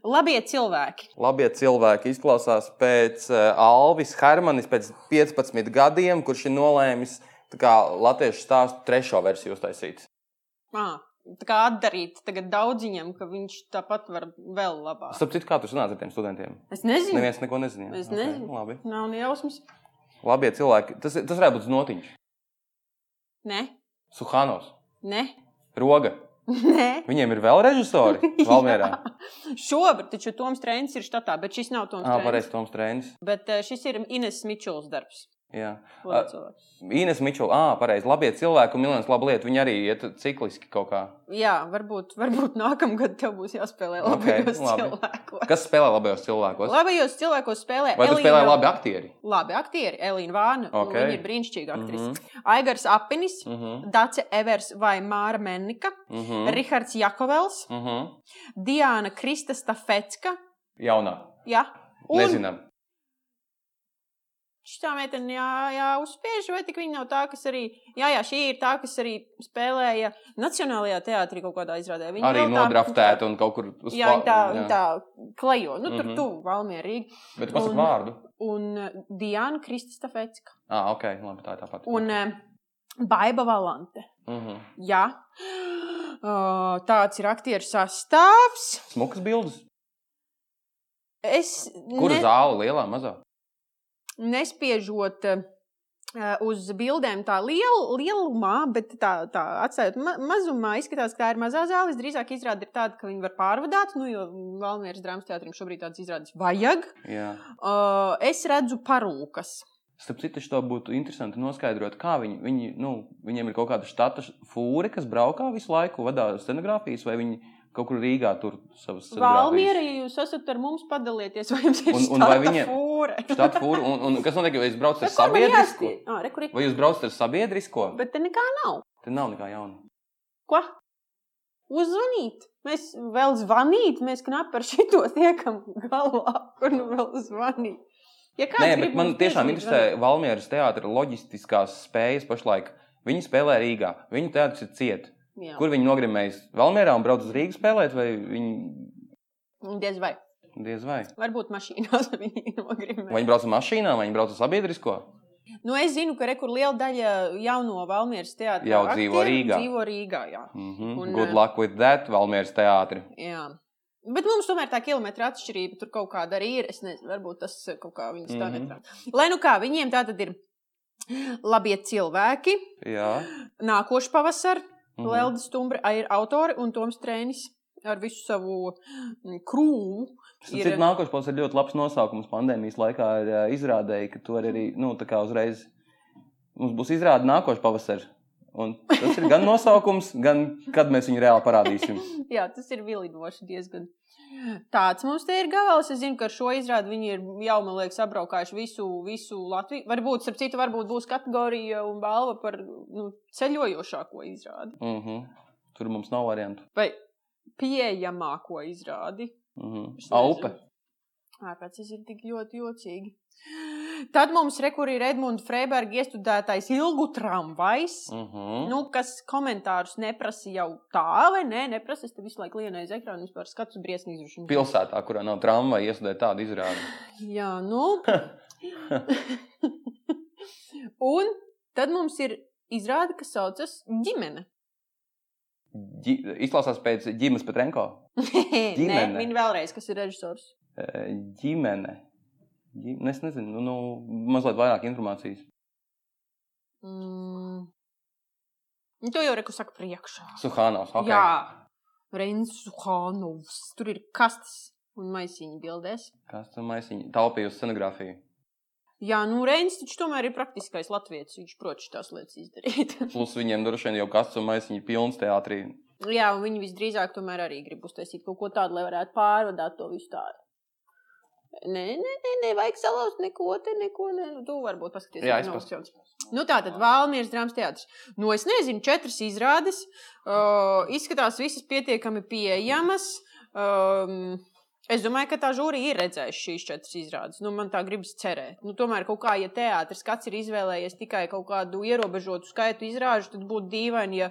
B: Labie cilvēki.
A: labie cilvēki izklausās pēc uh, Alvis Hermanis, pēc 15 gadiem, kurš ir nolēmis tā kā, latviešu stāstu trešo versiju uztaisīt.
B: À, tā kā atdarīt tagad daudziņam, ka viņš tāpat var vēl labāk.
A: Starp citu, kā tu runāsi ar tiem studentiem?
B: Es nezinu.
A: Neviens neko nezināja.
B: Es
A: Ok,
B: nezinu.
A: Labi.
B: Nav ne jausmas.
A: Labie cilvēki. Tas, ir- tas varētu būt notiņš.
B: Nē,
A: Suhanos,
B: (laughs) nē,
A: Roga.
B: nē.
A: Viņiem ir vēl
B: (laughs)
A: režisori Valmjerā.
B: Šobrīd taču Toms Trēns ir štatā, bet šis nav Toms
A: Jā,
B: Trēns.
A: pareizi, Toms Trēnis.
B: Bet eh, šis ir Ines Mičels darbs.
A: Jā.
B: Labi cilvēki.
A: Ines Mičela, ah, pareizi. Labie cilvēki un Milāns laba lieta. Viņi arī iet cikliski kaut kā.
B: Jā, varbūt, varbūt nākamgad tev būs jāspēlē
A: Ok,
B: labajos
A: labi.
B: okay, cilvēkos.
A: Kas spēlē labajos cilvēkos?
B: Labajos cilvēkos spēlē
A: Vai tu
B: Elīna-
A: spēlē labi aktieri?
B: Labi, aktieri. Elīna Vāna.
A: Ok.
B: Okay. Viņa ir brīnišķīga aktrise. Mm -hmm. Aigars Apinis,
A: Mhm.
B: Dace Evers vai Māra Mennika, mm -hmm.
A: Mhm.
B: Rihards Jakovels,
A: Mhm.
B: Diana Krista Stafecka.
A: Jaunā.
B: Jā. Un
A: Nezinām.
B: šī meitene, jā, jā, uzspiež, vai tik viņa nav tā, kas arī, jā, jā, šī ir tā, kas arī spēlēja Nacionālajā teātrī kaut kādā izrādē. Viņa
A: Arī
B: vēl tā-
A: nodraftēta un kaut kur uz
B: Jā, viņa tā,
A: pa-
B: viņa
A: jā.
B: tā klejo, nu, tur
A: Mhm.
B: mm -hmm. tuvu Valmierīgi.
A: Bet pasaka
B: un-
A: vārdu.
B: Un eh, Diana Krista Stafecka.
A: Ah, ok, labi, tā ir tāpat.
B: Un eh, Baiba Valante.
A: Mhm.
B: Jā. (gasps) Uh, tāds ir aktieru sastāvs.
A: Smukas bildes.
B: Es
A: Kur
B: ne-
A: zāle lielā, mazā?
B: nespiežot eh, uz bildēm tā liel, lielumā, bet tā, tā atstājot ma mazumā, izskatās, ka tā ir mazā zāle. Drīzāk izrāda ir tāda, ka viņi var pārvadāt, nu, jo Valmieras drāmas teātrim šobrīd tādas izrādes vajag.
A: Jā.
B: Uh, es redzu parūkas.
A: Starp citu, to būtu interesanti noskaidrot, kā viņi, viņi nu, viņiem ir kaut kāda štata fūri, kas braukā visu laiku, vadā scenogrāfijas, vai viņi kaut kur Rīgā tur savas
B: Valmiera, ja jūs esat ar mums, padalieties, vai jums ir
A: Un- un
B: šāda
A: vai viņiem-
B: fūra.
A: Štata fūri, un, un kas notiek, ja jūs braucat ar
B: Nu, Kur man
A: sabiedrisko?
B: jāspie- Ā, re, kur ir-
A: Vai jūs braucat ar sabiedrisko?
B: Bet te nekā nav.
A: Te nav nekā jauna.
B: Ko? Uzvanīt. Mēs vēl zvanīt, mēs knapi par šito (laughs) tiekam galā, kur nu vēl zvanīt. Ja kāds
A: Nē,
B: grib
A: bet man
B: mums
A: tiešām
B: piezvanīt,
A: interesē Valmieras teātra loģistiskās spējas pašlaik. Viņi spēlē Rīgā. Viņu teātris ir ciet.
B: zvanīt. Jā.
A: Kur viņi nogrimējas? Valmierā un brauc uz Rīgas spēlēt, vai viņi
B: Diez vai.
A: diez vai?
B: Varbūt mašīnās (laughs) viņi nogrimē.
A: Vai viņi brauc ar mašīnām, vai viņi brauc ar sabiedrisko?
B: Nu, es zinu, ka rekur liela daļa jauno Valmieras teātra
A: Jau dzīvo
B: aktieru
A: Rīgā.
B: Dzīvo Rīgā, jā.
A: Mhm,
B: Un,
A: Good
B: eh,
A: luck with that, Valmieras teātris.
B: Jā. Bet mums tomēr tā kilometra atšķirība tur kaut kāda arī ir. Es nezinu, varbūt tas eh, kaut kā viņas tā
A: Mhm.
B: netrāpīja. Lai nu kā, viņiem tā tad ir labie cilvēki.
A: Jā,
B: Nākošais pavasaris mm.
A: mhm.
B: Lelda Stumbra ir autori un Toms Trēnis ar visu savu mm, krūmu.
A: Starp
B: ir-
A: citu, nākošais posms ir ļoti labs nosaukums pandēmijas laikā. Ir ā, izrādēja, ka tur arī nu, tā kā uzreiz mums būs izrāde nākošais pavasaris. Un tas ir
B: (laughs)
A: gan nosaukums, gan kad mēs viņu reāli parādīsim.
B: Jā, tas ir vilinoši diezgan. Tāds mums te ir gavals. Es zinu, ka ar šo izrādi viņi ir jau, man liekas, apbraukājuši visu, visu Latviju. Varbūt, starp citu, varbūt būs kategorija un balva par nu, ceļojošāko izrādi
A: Uh -huh. Tur mums nav variantu.
B: vai pieejamāko izrādi.
A: Uh -huh.
B: Es nezinu.
A: Aupe.
B: Ārpēc tas ir tik ļoti jocīgi. Tad mums rekur ir Edmunds Freiberga iestudētais ilgu tramvajs.
A: Uh -huh.
B: Nu, kas komentārus neprasa jau tā, vai nē, neprasa. Es te visu laiku lienu aiz ekrāna, vispār skatu briesmīgi izrašu.
A: Pilsētā, kurā nav tramvaja, iesūdzēja tādu izrādi.
B: Jā, nu. Un tad mums ir izrāde, kas saucas ģimene.
A: Ģi, izklausās pēc ģimenes Petrenko.
B: (laughs) Nē,
A: Ģimene.
B: viņa vēlreiz, kas ir režisors.
A: Ē, Ģimene. Ģi- Es nezinu, nu, nu, mazliet vairāk informācijas.
B: Mm. Nu, To jau reku saka priekšā.
A: Suhānos. Okay.
B: Jā, Rensu Hānovs. Tur ir kastes un maisiņu bildēs.
A: Kas tur maisiņā? Taupīja uz scenogrāfiju.
B: Jā, nu Rens taču tomēr ir praktiskais latviečs. Viņš prot šīs lietas izdarīt.
A: Plus viņiem droši vien jau kas tur maisiņā ir pilns teātrī.
B: Nu, Jā, un viņi visdrīzāk tomēr arī grib uztaisīt kaut ko tādu, lai varētu pārvadāt to visu tādu. Nē, nē, nē, nē, vajag salauzt neko, te neko. Nē. Nu, Tu varbūt paskaties,
A: Jā, es
B: nav uzcelts. Nu, tā tad Valmīras drāmas teātris. Nu, es nezinu, četras izrādes. Uh, izskatās visas pietiekami pieejamas. Um, es domāju, ka tā žūrija ir redzējusi šīs četras izrādes. Nu, man tā gribas cerēt. Nu, tomēr, kaut kā, ja teātris kāds ir izvēlējies tikai kaut kādu ierobežotu skaitu izrāžu, tad būtu dīvaini, ja,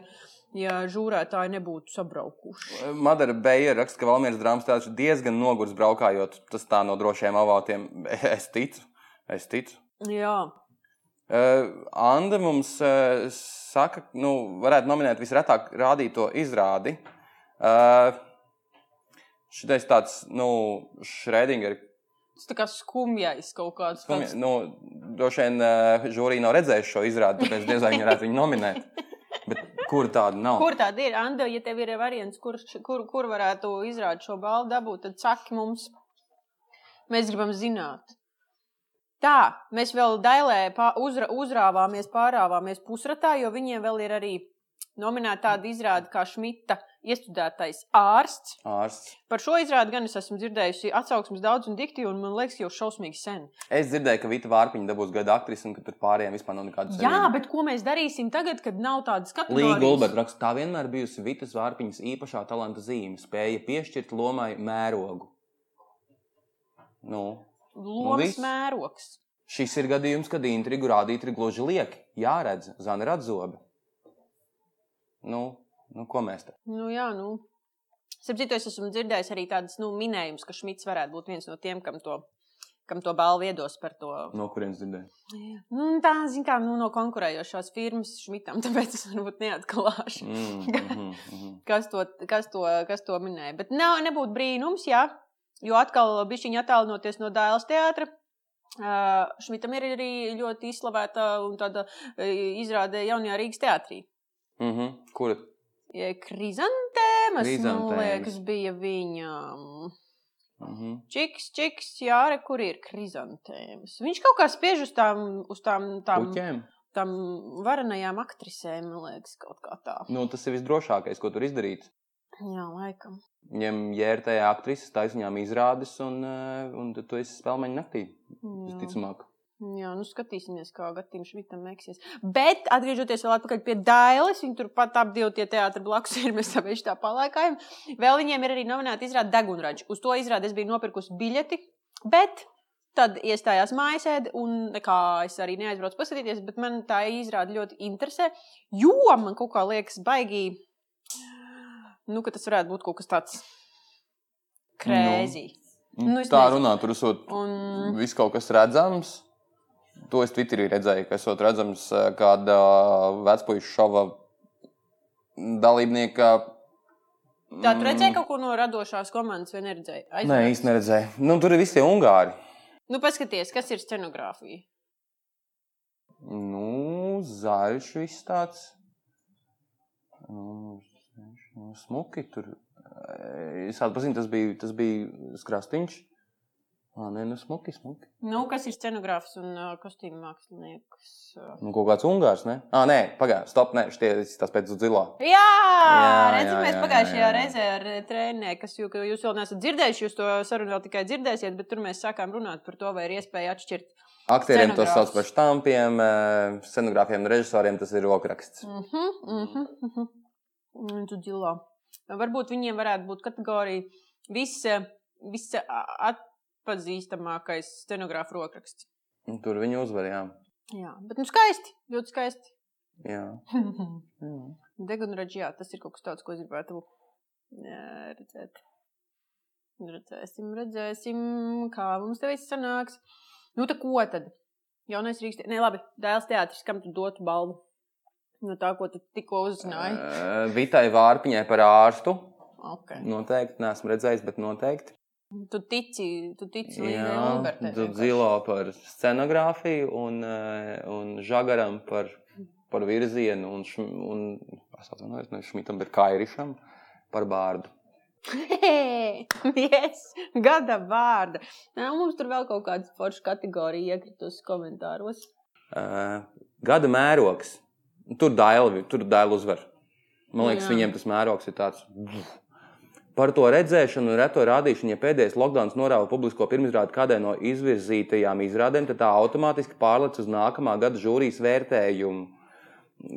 B: ja žūrētāji nebūtu sabraukuši.
A: Madara Beja raksta, ka Valmīras drāmas teātris ir diezgan nogurs braukājot. Tas tā no drošiem avotiem. (laughs) Es ticu. Es ticu.
B: Jā,
A: Uh, Anna mums uh, saka, ka nu, varētu nominēt visretāk rādīto izrādi. Uh, Šitais tāds, nu, Schrödinger.
B: tas tā kā skumjais kaut kāds.
A: Skumja,
B: Skumja.
A: nu, droši vien uh, žūrija nav redzējusi šo izrādi, tāpēc diez vai viņi varētu viņu nominēt. Bet kur tāda nav?
B: Kur tāda ir? Ando, ja tev ir variants, kur, kur, kur varētu izrādīt šo balvu, dabūt, tad saki mums. Mēs gribam zināt. Tā, mēs vēl dailē pā- uzra, uzrāvāmies, pārāvāmies pusratā, jo viņiem vēl ir arī nominēta tāda izrāde kā Šmita iestudētais ārsts.
A: Ārsts.
B: Par šo izrādi gan es esmu dzirdējusi atsauksmes daudz un dikti, un man liekas, jau šausmīgi sen.
A: Es dzirdēju, ka Vita Vārpiņa dabūs gada aktrisi un ka tur pārējiem vispār nav nekādas
B: Jā, bet ko mēs darīsim tagad, kad nav tādas
A: Līga Gulberta
B: kategorijas?
A: raksta, tā vienmēr bijusi Vitas Vārpiņas īpašā talanta zīme, spēja piešķirt lomai mērogu. Nu, Nu,
B: Lomas
A: viss.
B: mērogs.
A: šis ir gadījums, kad intrigu rādīt ir gluži lieki. Jāredz, zana redzobe. Nu, nu, ko mēs te?
B: Nu, jā, nu. Sapratu, es esmu dzirdējis arī tādas nu, minējumus, ka Šmits varētu būt viens no tiem, kam to, kam to balvu iedos par to.
A: No kurienes dzirdēju?
B: Nu, tā, zin kā, nu, no konkurējošās firmas Šmitam, tāpēc es varbūt neatklāšu.
A: Mm, mm, mm.
B: Kas to, kas to, kas to minēja? Bet nav, nebūtu brīnums, jā, jo atkal bija viņa attālinoties no Dāles teātra. ā, Šmitam ir arī ļoti izslavēta un tāda ā, izrāde jaunajā Rīgas teātrī.
A: Mm -hmm. Kur?
B: Ja Krizantēmas, man
A: Krizantēmas.
B: liekas, bija viņam.
A: Mm -hmm.
B: Čiks, čiks, jā, re, kur ir krizantēmas. Viņš kaut kā spiež uz tām, uz tām, tām,
A: Puķēm.
B: tām varenajām aktrisēm, man liekas, kaut kā tā.
A: Nu, tas ir visdrošākais, ko tur izdarīt.
B: Jā, laikam.
A: Viņam jērtē aktrises, taisnām izrādes, un, eh, un tu tu esi spēlmeņa naktī,
B: Jā,
A: visticamāk.
B: jā nu skatīsimies, kā Gatīna Šmitam meksies. Bet, atgriežoties vēl atpakaļ pie Dailes, viņi turpat ap divi tie teātri blakus ir, mēs tā veiši tā palaikājam. Vēl viņiem ir arī nominēta izrāda degunraģis. Uz to izrādi es biju nopirkusi biļeti, bet Tad iestājās mājasēde, un nekā es arī neaizbraucu paskatīties, bet man tā izrāda ļoti interesē. Jo man kaut kā liekas, baigīgi, nu, ka tas varētu būt kaut kas tāds krēsī. Nu, es
A: tā
B: nezinu. Mm.
A: runā, tur esot
B: Un...
A: viss kaut kas redzams. To es Twitterī redzēju, ka esot redzams eh, kāda vecpuļu šova dalībnieka. mm,
B: Tā tu redzēji kaut ko no radošās komandas, vai neredzēji?
A: ko?
B: Aizbrauc.
A: Nē, īsti neredzēju. Nu, tur ir visi tie ungāri.
B: Nu, paskaties, kas ir scenogrāfija.
A: Nu, zaļš viss tāds. Nu, nu, smuki tur. Eh, Es atpazinu, tas bija, tas bija skrastiņš. Ā, nē, nu, smuki, smuki.
B: Nu, kas ir scenogrāfs un uh, kostīmu mākslinieks? Uh.
A: Nu, kaut kāds ungārs, ne? Ā, nē, pagaidi, stop, nē, šitie visi tas pēc zilā.
B: Jā, jā
A: Jā,
B: redziet,
A: jā,
B: mēs
A: jā,
B: pagājušajā
A: jā, jā.
B: reizē ar eh, treniņu, kas jū, ka jūs vēl neesat dzirdējuši, jūs to sarunu vēl tikai dzirdēsiet, bet tur mēs sākām runāt par to, vai ir iespēja atšķirt.
A: Aktieriem to sauc
B: Scenogrāfs.
A: par štampiem, eh, scenogrāfiem un režisoriem tas ir rokraksts.
B: Mhm, mhm, mhm. Un tu dziļā. Varbūt viņiem varētu būt kategorija visa, visa a- atpazīstamākais scenogrāfa rokraksts.
A: Un Nu, Tur viņi uzvarēja.
B: Jā, bet nu skaisti, ļoti skaisti.
A: Jā. Jā.
B: Degunraģis, jā, tas ir kaut kas tāds, ko es gribētu eh, redzēt. Redzēsim, redzēsim, kā mums te viss sanāks. Nu, tā ko tad? Jaunais Rīgas, ne labi, dēls teātris, kam tu dotu balvu? No tā, ko tu tikko uzzināji.
A: Eh, Vitai Vārpiņai par ārstu.
B: Okay.
A: Noteikti, neesmu redzējis, bet noteikti.
B: Tu tici, tu tici Līgai
A: Jā,
B: Albertai. vienkārši.
A: Zilo par scenogrāfiju un, eh, un Žagaram par, par virzienu un, šm, un es atvainojos, ne Šmitam, bet Kairišam par bārdu.
B: Hei, (laughs) Yes, gada vārda. Nā, mums tur vēl kaut kāda forša kategorija iekritus komentāros.
A: Eh, Gada mērogs. Nu, Tur daila, tur daila uzvar. Man liekas,
B: Jā.
A: Jā. viņiem tas mērogs ir tāds. Par to redzēšanu un reto rādīšanu, ja pēdējais lockdown norāva publisko pirmizrādi kādai no izvirzītajām izrādēm, tad tā automātiski pārlec uz nākamā gada žūrijas vērtējumu.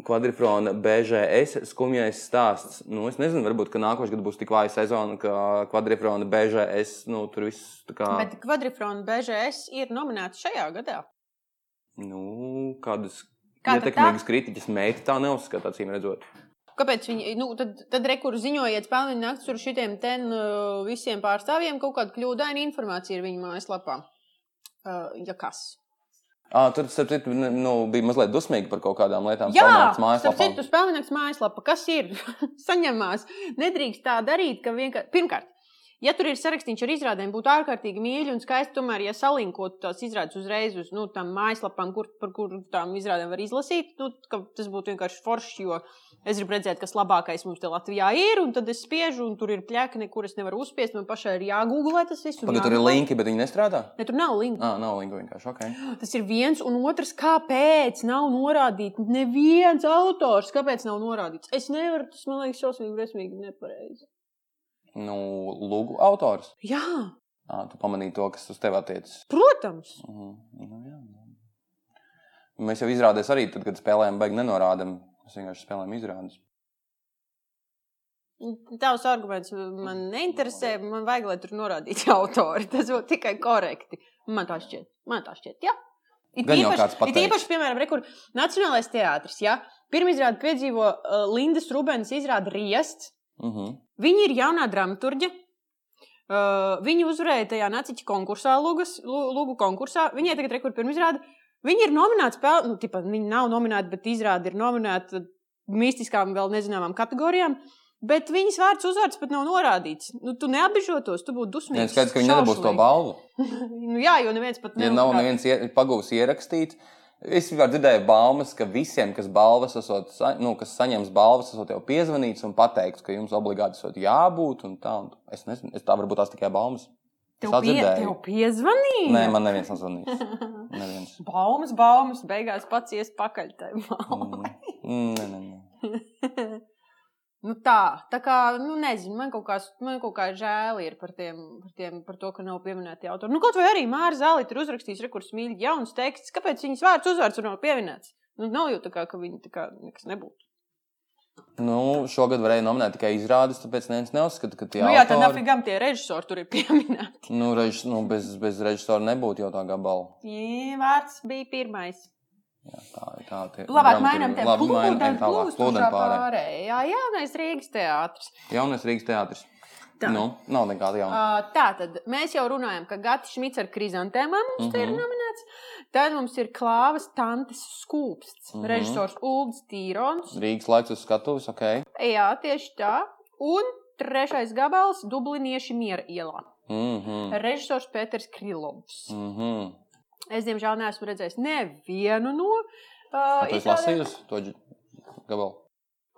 A: Kvadrifrona BGS skumjais stāsts. Nu, es nezinu, varbūt ka nākošais gads būs tik vāja sezona, ka kvadrifrona BGS nu, tur viss tā kā.
B: Bet kvadrifrona BGS ir nominēta šajā gadā.
A: Nu, kādas
B: Kāda tā?
A: ietekmīgas kritiķas meita tā neuzskata, acīm redzot.
B: Kāpēc viņi, nu, tad, tad rekur ziņojiet spēlēni nakts ar šitiem ten uh, visiem pārstāvjiem kaut kāda kļūdaina informācija ir viņa mājaslapā. Uh, ja kas?
A: À, tur starp citu, ne- nu, bija mazliet dusmīgi par kaut kādām lietām.
B: Jā,
A: Pelnāks
B: starp
A: mājaslapām.
B: citu, (laughs) spēlnieks mājaslapa, kas ir saņemās, nedrīkst tā darīt, ka vienkārši pirmkārt. Ja tur ir sarakstīns ar izrādēm, būtu ārkārtīgi mīļi un skaisti. Tomēr, ja salinkot tās izrādes uzreiz uz nu, tām mājaslapām, kur, par kurām tām izrādēm var izlasīt, nu, ka tas būtu vienkārši forši. Jo es gribu redzēt, kas labākais mums te Latvijā ir, un tad es spiežu, un tur ir plēkni, kuras nevaru uzspiest. Man pašai ir jāgooglē tas viss. un
A: Pagaidā, tur ir
B: jāmeklē.
A: linki, bet viņi nestrādā.
B: Ne, tur nav link.
A: Ah, nav linka vienkārši. Okay.
B: Tas ir viens, un otrs, kāpēc nav norādīts neviens autors, kāpēc nav norādīts. Es nevaru, tas man liekas, šausmīgi, briesmīgi, nepareizi.
A: Nu, lūgu autors.
B: Jā,
A: Ah, tu pamanīji to, kas uz tevi attiecas.
B: protams.
A: Mhm. Nu, jā. Mēs jau izrādījām, arī tad, kad spēlējām, beigās nenorādām. Mēs vienkārši spēlējām izrādes.
B: Tavs arguments man neinteresē. Man vajag, lai tur norādītu (laughs) autori. Tas būtu tikai korekti. Man tā šķiet. Man tā šķiet. Jā. It
A: Gan jau
B: īpaši-
A: kāds
B: it
A: pateiks.
B: īpaši, piemēram, re, kur Nacionālais teātris. Ja? Pirmizrādi piedzīvo uh, Lindas Rubens izrādi Riests.
A: Uh -huh.
B: Viņa ir jaunā dramaturģe. Uh, viņa uzvarēja tajā naciņa konkursā, Lūgas, Lū- Lūgu konkursā. Viņai tagad ir rekords pirmizrāde. Viņa ir nominēta spēlē, nu, tipa, viņa nav nominēta, bet izrāde ir nominēta mistiskām, vēl nezināmām kategorijām. Bet viņas vārds uzvārds pat nav norādīts. Nu, tu neapbežotos, tu būtu dusmīgs.
A: Jā, skaidrs, ka viņi nedabūs to balvu.
B: nu, jā, jo neviens pat
A: Ja nav neviens ie- pagūs ierakstīt, es vienkārši dzirdēju baumas, ka visiem, kas, balvas esot, sa- nu, kas saņems balvas, esot jau piezvanīts un pateikts, ka jums obligāti esot jābūt. Un tā, un es nezinu, es tā varbūt tās tikai baumas.
B: Tev,
A: Es
B: pie,
A: atdzirdēju.
B: tev piezvanīja.
A: Nē, man neviens nezvanīs.
B: (laughs)
A: Neviens.
B: Baumas, baumas, beigās pats ies pakaļ tajā baumā.
A: Mm. Nē, nē, nē.
B: Nu tā, tā kā, nu, nezinu, man kaut, kās, man kaut kā žēl ir par, tiem, par, tiem, par to, ka nav pieminēti autori. Nu, kaut vai arī Mārcis Zālīts ir uzrakstījis rekurs mīļi, jauns teksts, kāpēc viņas vārds uzvārds tur nav pieminēts. Nu, nav jau tā, kā, ka viņi tā kā nekas nebūtu.
A: Nu, šogad varēja nominēt tikai izrādes, tāpēc neviens neuzskata, ka tie
B: Nu, jā, tad
A: autori-
B: nafigam tie režisori tur ir pieminēti.
A: Nu, rež, nu, bez, bez režisora nebūtu jau tā gabala.
B: Jā, vārds bija pirmais.
A: Jā, tā ir tā līnija.
B: Labāk mainām te
A: plūdu,
B: plūdeni,
A: tālāk
B: plūstošā
A: plūdu pārējā.
B: pārējā. Jaunais Rīgas teātris.
A: Jaunais Rīgas teātris.
B: Tā.
A: Nu, nav nekāda jauna.
B: Uh, tā tad mēs jau runājam, ka Gatis Šmits ar krizantēmām mums uh -huh. ir
A: Mhm.
B: nominēts. Tad mums ir klāvas tantes skūpsts, uh
A: Mhm.
B: -huh. režisors Ulrichs Tīrons.
A: Rīgas laiks uz skatuves, ok.
B: Jā, tieši tā. Un trešais gabals - Dublinieši miera ielā.
A: Mhm.
B: Režisors Pēters Krilovs.
A: Mhm.
B: Es, diemžēl, neesmu redzējis nevienu no.
A: Kā
B: Uh,
A: Tu esi lasījusi to dž- gabalu?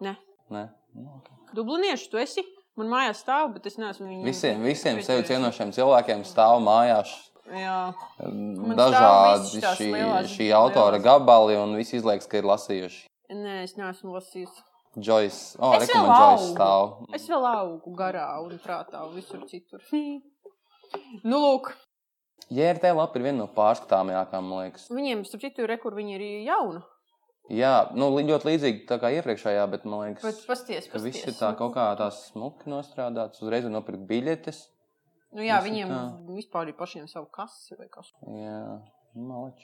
B: Nē.
A: Nē. Nu, ok.
B: Dublinieši tu esi. Man mājās stāv, bet Nu, es neesmu viņu.
A: Visiem, visiem sevi
B: redzējis.
A: cienošiem cilvēkiem stāv mājās um,
B: Jā, stāv
A: dažādi
B: visas tās
A: šī,
B: lielās-
A: šī autora
B: lielās.
A: gabali, un visi izliekas, ka ir lasījuši.
B: nē, es neesmu lasījis.
A: Joyce, oh,
B: Es
A: rekomend,
B: vēl
A: Joyce
B: augu.
A: stāv.
B: Es vēl augu garā un prātā un visur citur. Hmm. Nu, lūk,
A: JRT lapa ir viena no pārskatāmākajām, man liekas.
B: viņiem, starp citu, ir rekur, viņi ir jauni.
A: Jā, nu, li- ļoti līdzīga tā kā iepriekšējā, bet man liekas,
B: Bet pasties,
A: ka
B: pasties.
A: viss ir tā kaut kā tā smuki nostrādāts. Uzreiz var nopirkt biļetes.
B: Nu, jā,
A: viss ir
B: viņiem
A: tā.
B: vispār ir pašiem savu kasi vai kas.
A: Jā, malači.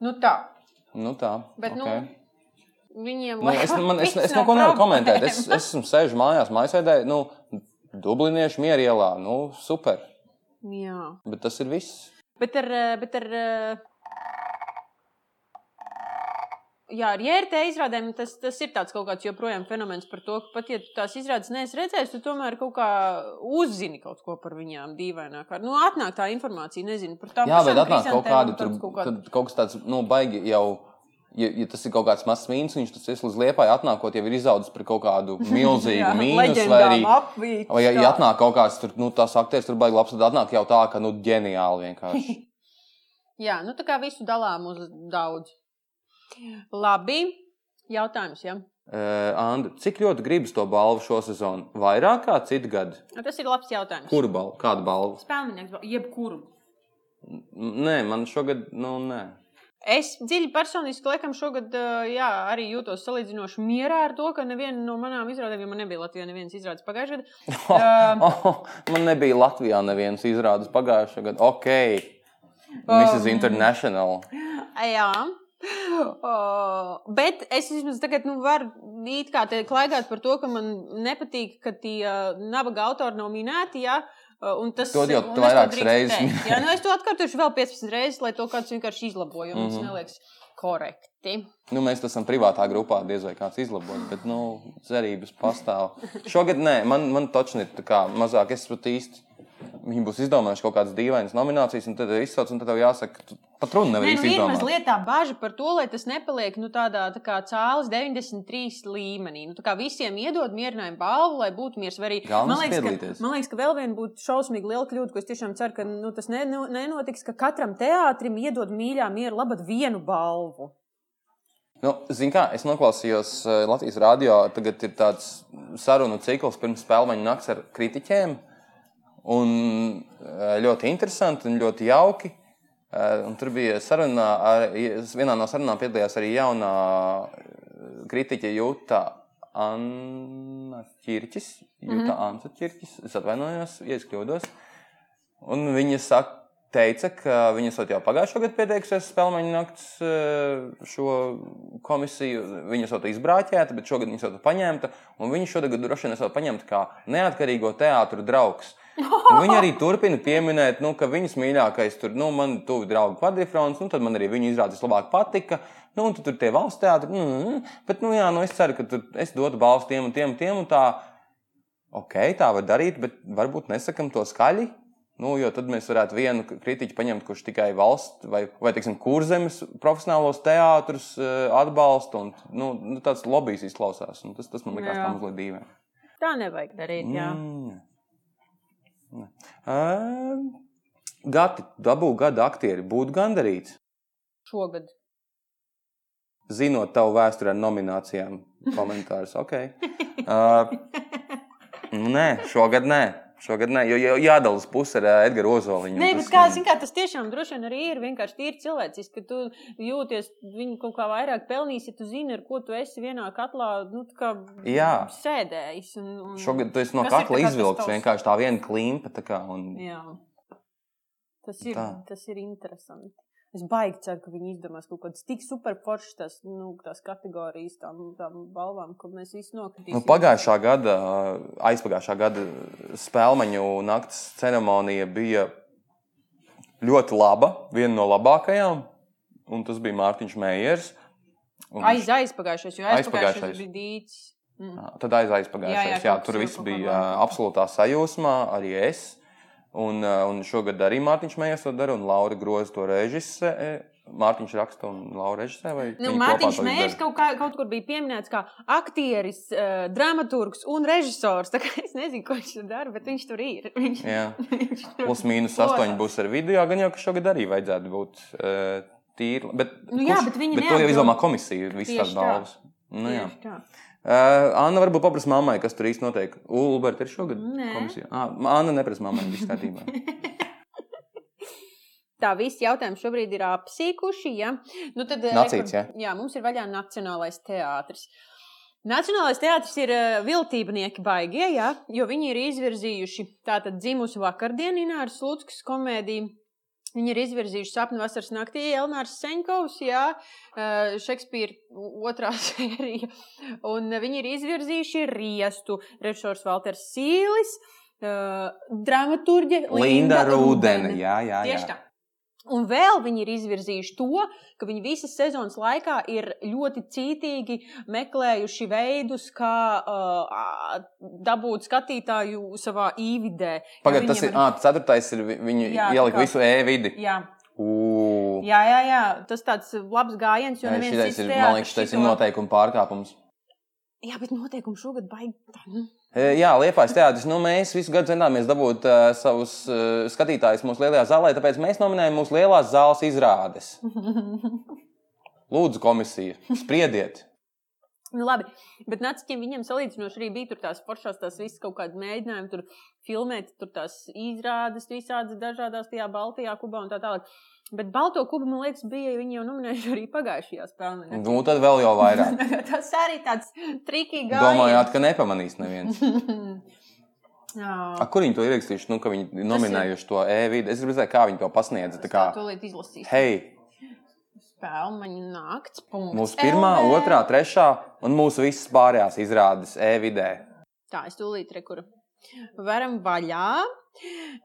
B: Nu, tā.
A: Nu tā.
B: Bet,
A: okay.
B: (laughs) nu,
A: nu,
B: viņiem.
A: nu, es, man, es, es neko nevaru komentēt. Es, es esmu sēžu mājās, mājasēdē, nu, Dubliniešu mieru ielā. Nu, super.
B: Jā.
A: Bet tas ir viss.
B: Bet ar. eh, Bet ar eh, Jā, ar JRT izrādēm tas, tas ir tāds kaut kāds joprojām fenomens par to, ka pat ja tu tās izrādes neesi redzējis, tu tomēr kaut kā uzzini kaut ko par viņām dīvainā kārtā. Nu, atnāk tā informācija, nezinu par tām.
A: Jā,
B: pašām
A: bet atnāk kaut
B: krizantēmām,
A: kāda
B: tāds
A: tur,
B: kaut
A: kaut,
B: kā-
A: tad, kaut kas tāds, nu, baigi jau. Ja, ja tas ir kaut kāds mazs mīnus, viņš tas ir līdz liepai atnākot, jau ir izaudzis par kaut
B: (laughs)
A: kādu milzīgu
B: Jā,
A: mīnusu. Vai,
B: leģendām
A: arī,
B: apvīts,
A: vai ja,
B: tā.
A: ja atnāk kaut kāds, tur, nu, tas aktieris tur baigi labs, tad atnāk jau tā, ka, nu, ģeniāli vienkārši.
B: Jā, nu tā kā visu dalām uz daudz. Labi, jautājums, jā.
A: Uh, Andu, cik ļoti gribas to balvu šo sezonu? Vairāk kā citu gadu?
B: Tas ir labs jautājums.
A: Kuru balvu? Kādu balvu?
B: Spēlnieks, jebkuru.
A: N- Nē, man šogad, nu, nē. (laughs)
B: Es dziļi personiski, laikam, šogad ā, jā, arī jūtos salīdzinoši mierā ar to, ka neviena no manām izrādēm, jo man nebija Latvijā nevienas izrādes pagājušajā gadā,
A: (laughs) Oh, oh, man nebija Latvijā nevienas izrādes pagājušā gada. Ok, Mrs.
B: Um,
A: International.
B: jā. Uh, bet es vismaz tagad nu, varu it kā te klaigāt par to, ka man nepatīk, ka tie uh, nabaga autori nav minēti. Jā. Uh, un Tas
A: To jau
B: un
A: tu
B: es to
A: vairākas
B: drīkstu
A: reizes
B: teikt.
A: minēji.
B: Jā, nu es to atkārtošu vēl 15 reizes, lai to kāds vienkārši izlaboja. Mm
A: Mhm.
B: -hmm. korekti.
A: Nu, mēs to esam privātā grupā, diez vai kāds izlabos, bet nu, cerības pastāv. Šogad nē, man, man točni ir tā kā mazāk. Es pat īsti. Viņi būs izdomājuši kaut kādas dīvainas nominācijas, un tad izsauc, un tad tev jāsaka, tu pat runa nevar
B: Nē, nu,
A: īsti
B: ir
A: izdomāt.
B: mazliet tā bažas par to, lai tas nepaliek nu, tādā tā kā cēlis 93 līmenī. Nu, tā kā visiem iedod mierinājumu balvu, lai būtu miers. vai Arī,
A: Galvenais
B: liekas,
A: piedalīties.
B: ka, man liekas, ka vēl viena būtu šausmīga liela kļūda, ko es tiešām ceru, ka nu, tas ne, nu, nenotiks, ka katram teātrim iedod mīļā miera labad vienu balvu.
A: Nu, Ziniet, kā es noklausījos eh, Latvijas rādio, tagad ir tāds sarunu cikls pirms spēļu nakts ar kritiķiem. Un eh, ļoti interesanti un ļoti jauki. Eh, Un tur bija saruna, ar, vienā no sarunām piedalījās arī jaunā eh, kritiķa Jūta Anna Čirčis. Jūta mm -hmm. Anna Čirčis, es atvainojos, ja es kļūdos. Un viņa saka, teica, ka viņa esot jau pagājušā gada pieteikusies spēļu nakts eh, šo komisiju. Viņa esot izbrāķēta, bet šogad viņa esot paņemta. Un viņa šogad droši vien esot paņemta kā neatkarīgo teātru draugs. (laughs) Un Viņa arī turpina pieminēt, nu, ka viņas mīļākais tur, nu, man tuvi draugi kvadrifrons, nu, tad man arī viņa izrādes labāk patika. Nu, un tad tur tie valsts teātri, nu, nu, nu. bet, nu, jā, nu, es ceru, ka tur es dotu balstu tiem un tiem un tiem un tā. Ok, tā var darīt, bet varbūt nesakam to skaļi. Nu, jo tad mēs varētu vienu k- kritiķu paņemt, kurš tikai valsts vai, vai teiksim, kurzemes profesionālos teātrus eh, atbalsta. Un, nu, nu, tāds lobbyists izklausās. Un tas, tas man likās
B: Jā.
A: tā mazliet dīvaini.
B: Tā nevajag darīt. Jā.
A: Mm. Nē. Mm. Ā, Gati, dabū gada aktieri, būtu gandarīts.
B: Šogad.
A: Zinot tavu vēsturi ar nominācijām, komentārus. Okay. Uh, nē, šogad nē. Šogad nē, jo jau jādalās puse ar ā, Edgara Ozoliņu.
B: Nē, bet kā, zin, kā tas tiešām droši vien arī ir vienkārši tīri cilvēciski, ka tu jūties viņu kaut kā vairāk pelnījis, ja tu zini, ar ko tu esi vienā katlā nu, tā kā
A: Jā.
B: sēdējis. Un, un...
A: Šogad tu esi no
B: Kas ir tā
A: kakla
B: kā tas
A: izvilkts
B: tavs?
A: vienkārši tā viena klimpa. Tā kā, un...
B: Jā. Tas ir,
A: Tā.
B: tas ir interesanti. Es baigi ceru, ka viņi izdomās kaut kādas tik superforšas tās, nu, tās kategorijas, tām, tām balvām, ko mēs visi nokritīsim.
A: Nu, pagājušā gada, aizpagājušā gada spēļu naktas ceremonija bija ļoti laba, viena no labākajām. Un tas bija Mārtiņš Meijers. Un
B: Aiz aizpagājušais, jo aizpagājušais
A: Aizpagājušais.
B: bija dīts. Mm.
A: Tad aiz aizpagājušajā
B: Jā, jā,
A: gadā.
B: kaut
A: Tur
B: kas
A: viss
B: jau kaut
A: bija
B: kādā.
A: ā, absolūtā sajūsmā, arī es. Un, ā, un šogad arī Mārtiņš Meijers to dara, un Laura groza to režisē. Mārtiņš raksta, un Laura režisē. vai
B: Nu,
A: viņi kopā
B: Mārtiņš
A: to
B: Mērs
A: izdara?
B: kaut, kā, kaut kur bija pieminēts kā aktieris, uh, dramaturgs un režisors. (laughs) Tā kā Es nezinu, ko viņš tur dara, bet viņš tur ir. Viņš,
A: Jā.
B: (laughs) viņš tur...
A: Plus mīnus
B: Ko?
A: 8 būs ar video. Gan jau ka šogad arī vajadzētu būt uh, tīri. Bet,
B: Nu jā, bet viņi
A: bet to jau
B: neatbild.
A: izdomā komisija, visas
B: Tieši
A: tās
B: tā.
A: balvas. Nu, jā.
B: Tieši tā.
A: uh, Anna varbūt paprasa mammai, kas tur īsti notiek. Ulberta ir šogad
B: Nē.
A: komisijā. Ah, Anna neprasa mammai, viss kārtībā.
B: (laughs) Tā visi jautājumi šobrīd ir apsīkuši. Ja? Nu, tad, eh,
A: Nacīts,
B: rekur- jā, mums ir vaļā Nacionālais teātris. Nacionālais teātris ir eh, viltībnieki baigie, ja? jo viņi ir izvirzījuši tātad dzimusi vakardienu Ināras Lūtskas komēdiju. Viņi ir izvirzījuši sapni vasaras naktī, Elnars Senkovs, jā, eh, Šekspīra otrā (laughs) sērija. Un viņi ir izvirzījuši riestu, režisors Walters Sīlis, eh, dramaturģe
A: Linda Rūdene.
B: Rūdene.
A: Jā, jā,
B: Tieši
A: jā.
B: tā. Un vēl viņi ir izvirzījuši to, ka viņi visas sezonas laikā ir ļoti cītīgi meklējuši veidus, kā uh, ā, dabūt skatītāju savā īvidē. Jo
A: Pagaidiet, tas
B: viņiem
A: ir. Ah, ceturtais ir vi- viņi
B: Jā, tā
A: ielika
B: kā-
A: visu e-vidi.
B: Jā,
A: Ū.
B: jā, jā, jā, tas tāds labs gājiens, jo
A: Jā,
B: neviens
A: Eh, šitais
B: cits
A: ir, man
B: teātris
A: liekas, tas ir
B: šito-
A: noteikuma pārkāpums.
B: Jā, bet noteikumi šogad baigi. tā, nu.
A: E, Jā, Liepais teātris. Nu, mēs visu gadu centāmies dabūt uh, savus uh, skatītājus mūsu lielajā zālē, tāpēc mēs nominējām mūsu lielās zāles izrādes.
B: (laughs)
A: Lūdzu, komisija, spriediet!
B: Nu, labi, bet Nācijiem viņiem salīdzinoši arī bija tur tās foršās, tās visas kaut kādas mēģinājumi, tur filmēt, tur tās izrādes visādas dažādās tajā Baltijā, Kubā un tā tālāk. Bet Balto kubu, man liekas, bija viņi jau nominējuši arī pagājušajā spēlē.
A: Nu, tad vēl jau vairāk.
B: (laughs) Tas arī tāds trikīgi
A: Mm. Domājāt, ka nepamanīs neviens. A,
B: (laughs) Jā,
A: kur viņi to ierakstījuši? Nu, ka viņi nominējuši to e-vidi. Es gribēju, kā viņi to pasniedza. Tā kā,
B: to lietu izlasīs.
A: hei,
B: Spēlmaņu nakts. punkts
A: mūsu pirmā,
B: LV.
A: otrā, trešā un mūsu visas pārējās izrādes e-vidē.
B: Tā, es tūlīt rekur. Varam vaļā.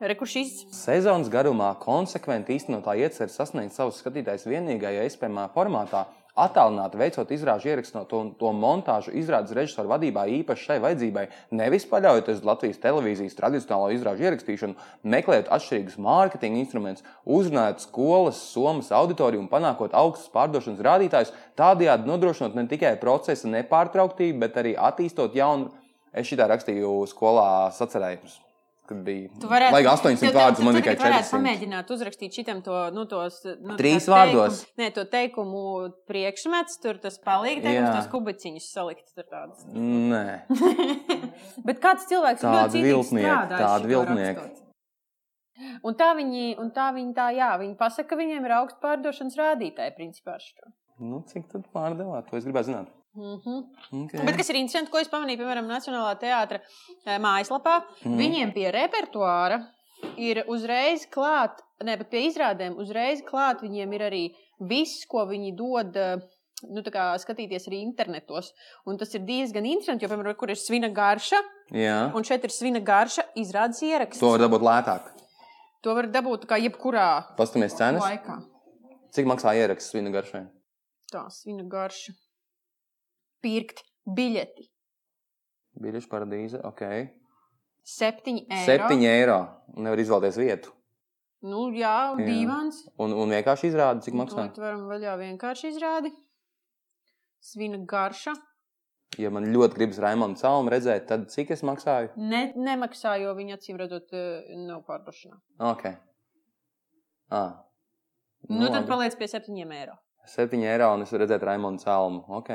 B: Rekušīs.
A: Sezonas garumā konsekventi īstenotā iecerē sasniegt savus skatītājus vienīgajā iespējamā formātā, attēlināti veicot izrāžu ierakstu to, to montāžu izrādes režisoru vadībā īpaši šai vajadzībai, nevis paļaujoties uz Latvijas televīzijas tradicionālo izrāžu ierakstīšanu, meklējot atšķirīgus mārketinga instrumentus, uzrunājot skolas, somas auditoriju un panākot augstus pārdošanas rādītājus, tādējādi nodrošinot ne tikai procesa nepārtrauktību, bet arī attīstot jaunu. Es šitā rakstīju skolā sacerējumus kad bija.
B: Tu varētu,
A: Lai gan 800 vārdus man tikai
B: Tu varētu
A: 400.
B: pamēģināt uzrakstīt šitam to, nu, tos, nu,
A: Trīs
B: tā
A: vārdos.
B: Teikumu, nē, to teikumu priekšmets, tur tas palīgi, teikums,
A: Jā.
B: tos kubaciņus salikt tur tādas.
A: Nē,
B: Bet kāds cilvēks ir
A: Tādi
B: ļoti
A: viltnieki, tādi viltnieki.
B: Un tā viņi, un tā viņi tā, jā, viņi pasaka, ka viņiem ir augsts pārdošanas rādītāji, principā. ar šo.
A: nu, cik tad pārdevāt? To es gribēju zināt.
B: Mhm.
A: Okay.
B: Bet kas ir interesanti, ko es pamanīju, piemēram, Nacionālā teātra eh, mājaslapā,
A: Mhm.
B: Viņiem pie repertuāra ir uzreiz klāta, ne pat pie izrādēm, uzreiz klāta viņiem ir arī viss, ko viņi dod. eh, Nu, tā kā skatīties arī internetos. Un tas ir diezgan interesanti, jo, piemēram, kur ir svina garša,
A: Jā,
B: un šeit ir svina garša izrādes ieraksts.
A: to var dabūt lētāk.
B: to var dabūt tā kā jebkurā
A: Paskaties cenas.
B: laikā.
A: Cik maksā ieraksts svinu garšai?
B: Tā svina garša. Pirkt biļeti
A: Biļešu paradīze, ok.
B: 7 eiro.
A: 7 eiro. Nevar izvēlēties vietu.
B: Nu, jā, un
A: Jā.
B: dīvāns.
A: Un, un vienkārši izrāda, cik maksā.
B: Mēs varam vaļā vienkārši izrādi. Svina garša.
A: Ja man ļoti gribas Raimonda caurumu redzēt, tad cik es maksāju?
B: Ne, nemaksā, jo viņi acīm redzot, eh, nav pārdošanā.
A: Ok. Ah.
B: Nu, nu, tad paliec pie septiņiem eiro.
A: 7 eiro un es varu redzēt Raimonda caurumu. Ok.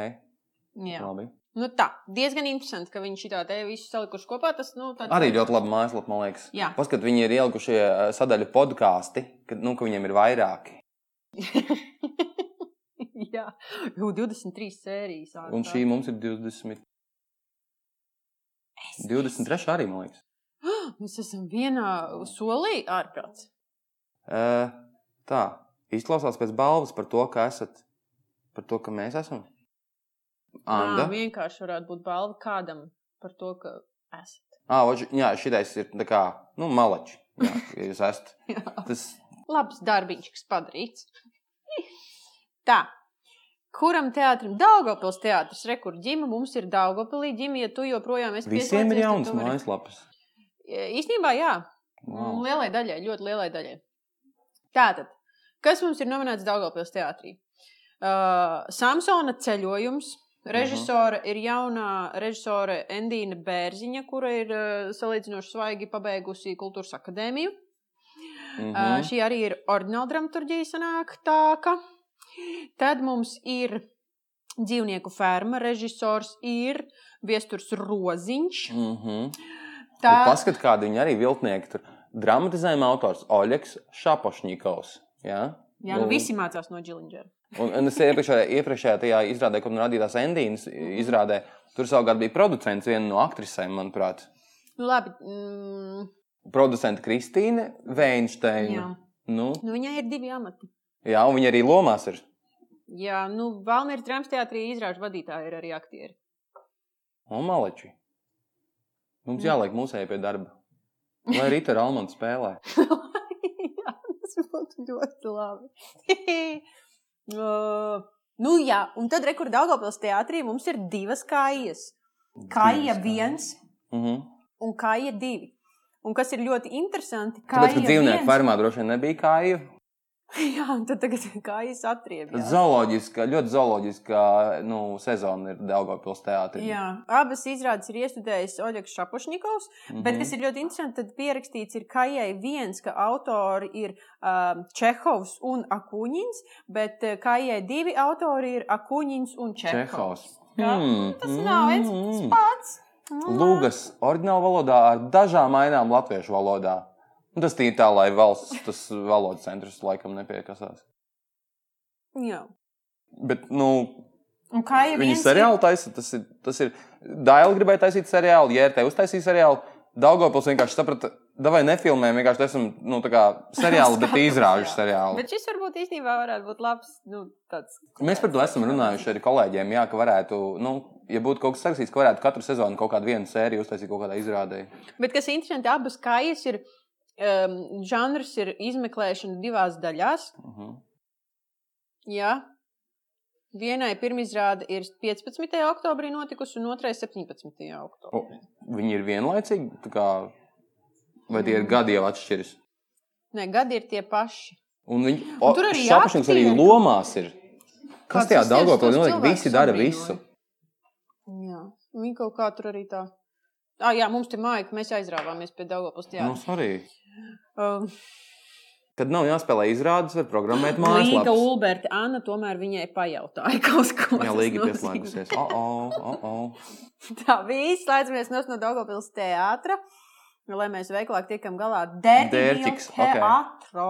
B: Jā.
A: Labi.
B: Nu, tā diezgan interesanti, ka viņi šitā te visu salikuši kopā. Tas nu, tāds...
A: Arī
B: (laughs)
A: ļoti labi mājaslapa, man liekas.
B: Jā.
A: Paskat, viņi ir ielikuši eh, sadaļu podkāstu, kad nu, ka viņiem ir vairāki.
B: Jā, jau 23 sērijas. ārā.
A: Un šī mums ir 20. 23. arī, man liekas.
B: Mēs esam vienā solī ārprāts.
A: Eh, Tā izklausās pēc balvas par to, ka esat. Par to, ka mēs esam. Anda.
B: Jā, vienkārši varētu būt balva kādam par to, ka esat.
A: Ah, oči, jā, šitais ir tā kā nu, malači. Jā, ja jūs esat.
B: (laughs) Jā.
A: Tas
B: labs darbiņš, kas padarīts. Tā. Kuram teātrim? Daugopils teātris, rekur ģimene, mums ir Daugopilī ģimene, ja tu joprojām esi
A: visiem
B: pieslēdzies,
A: ir
B: tad
A: jauns
B: tu vari-
A: mājaslapas.
B: E, Īstenībā, jā, wow.
A: Wow.
B: lielai daļai, ļoti lielai daļai. Tātad, kas mums ir nominēts Daugopils teātrī? Uh, Samsona ceļojums. Režisora ir jaunā režisore Endīna Bērziņa, kura ir uh, salīdzinoši svaigi pabeigusi kultūras akadēmiju.
A: Mm
B: Uh,
A: -hmm.
B: šī arī ir ordināla dramaturgija sanāktāka. Tad mums ir dzīvnieku ferma, režisors ir Viesturs Roziņš.
A: mm -hmm.
B: Tā
A: Un Paskat, kādi viņi arī viltnieki tur. Dramatizējuma autors Oļegs Šapošņikovs. Jā?
B: jā, nu
A: un-
B: visi mācās no Džilindžera.
A: Un, un es iepriekšējā, iepriekšējā tajā izrādē, kur man radījās Endīnas izrādē, tur savukārt bija producents, viena no aktrisēm, manuprāt.
B: Nu, labi, mm,
A: Producents Kristīne Veinsteina.
B: jā.
A: Nu,
B: Nu, viņai ir divi amati.
A: jā, un viņa arī lomās ir.
B: Jā, nu, Valmīras drāmas teātrī izrāžu vadītāji ir arī aktieri. (laughs)
A: Un maleči. Mums
B: Mm.
A: jāliek mūsēji pie darba. Lai Rīta Ralmans spēlē.
B: jā, tas būtu ļoti labi. (laughs) Uh, nu, jā, un tad rekurā Dārgopils teātrī mums ir divas kājas. Kāja viens
A: Mhm.
B: un kāja divi. Un kas ir ļoti interesanti, ka
A: Tāpēc, ka dzīvnieku farmā droši vien nebija kāju.
B: (laughs) Jā, un tad tagad (laughs) kājas atriebjas.
A: Zooloģiska, ļoti zooloģiska nu, sezona ir Daugavpils teātrī.
B: Jā, abas izrādes ir iestudējis Oļegs Šapošņikovs,
A: Mhm.
B: bet kas ir ļoti interesanti, tad pierakstīts ir Kajai viens, ka autori ir um, Čehovs un Akuņins, bet eh, Kajai divi autori ir Akuņins un Čehovs.
A: Čehovs.
B: Jā,
A: Mm,
B: Tas nav viens un tas pats. Mm.
A: Lūgas oriģinālā valodā ar dažām mainām latviešu valodā. Un tas tīri tā, lai valsts tas valodas centrs laikam nepiekasās.
B: Jā.
A: Bet, nu,
B: Un Kajai
A: viņi
B: viens
A: seriāli taisa. Tas ir, tas ir Daila gribēja taisīt seriālu, JRT uztaisīja seriālu. Daugopils vienkārši saprata, davai nefilmējam, vienkārši esam, nu, tā kā seriāli, bet izrāžu seriālu.
B: Bet šis varbūt īstenībā varētu būt labs, nu, tāds.
A: Mēs par to esam runājuši arī kolēģiem. Jā, ka varētu, nu, ja būtu kaut kas sarakstīts, ka varētu katru sezonu kaut kādu vienu sēriju uztaisīt kaut kādā izrādē.
B: Bet kas ir interesanti, abas kājas ir um, žanrs ir izmeklēšana divās daļās.
A: Uh -huh.
B: Jā. Vienai pirmizrāde ir 15. oktobrī notikusi, un otrai 17. oktobrī.
A: Viņi ir vienlaicīgi, tā kā, vai tie ir gadi jau atšķiras?
B: Nē, gadi ir tie paši.
A: Un viņi
B: Un
A: o,
B: tur arī
A: šapašanas arī
B: aktieri.
A: lomās ir. Kas
B: Kāds
A: tajā
B: tas tieši
A: Daugavpilī
B: tos
A: notiek?
B: cilvēkus
A: Visi dara
B: apbrīnoja.
A: visu.
B: Jā. Viņi kaut kā tur arī tā. Ah, jā, mums te māja, ka mēs aizrāvāmies pie Dāngāpus.
A: Nu, sorry.
B: Um,
A: Kad nav jāspēlē izrādes, var programmēt
B: Līga
A: mājaslapā.
B: Ulberta, Anna tomēr viņai pajautāja (laughs) kaut ko.
A: Jā,
B: tas
A: Līga
B: nozīmē.
A: pieslēgusies. O, o, o, o.
B: (laughs) Tā viss slēdzamies nost no Daugavpils teātra, lai mēs veiklāk tiekam galā. Dērķis,
A: Dērķiks, ok.
B: teātro.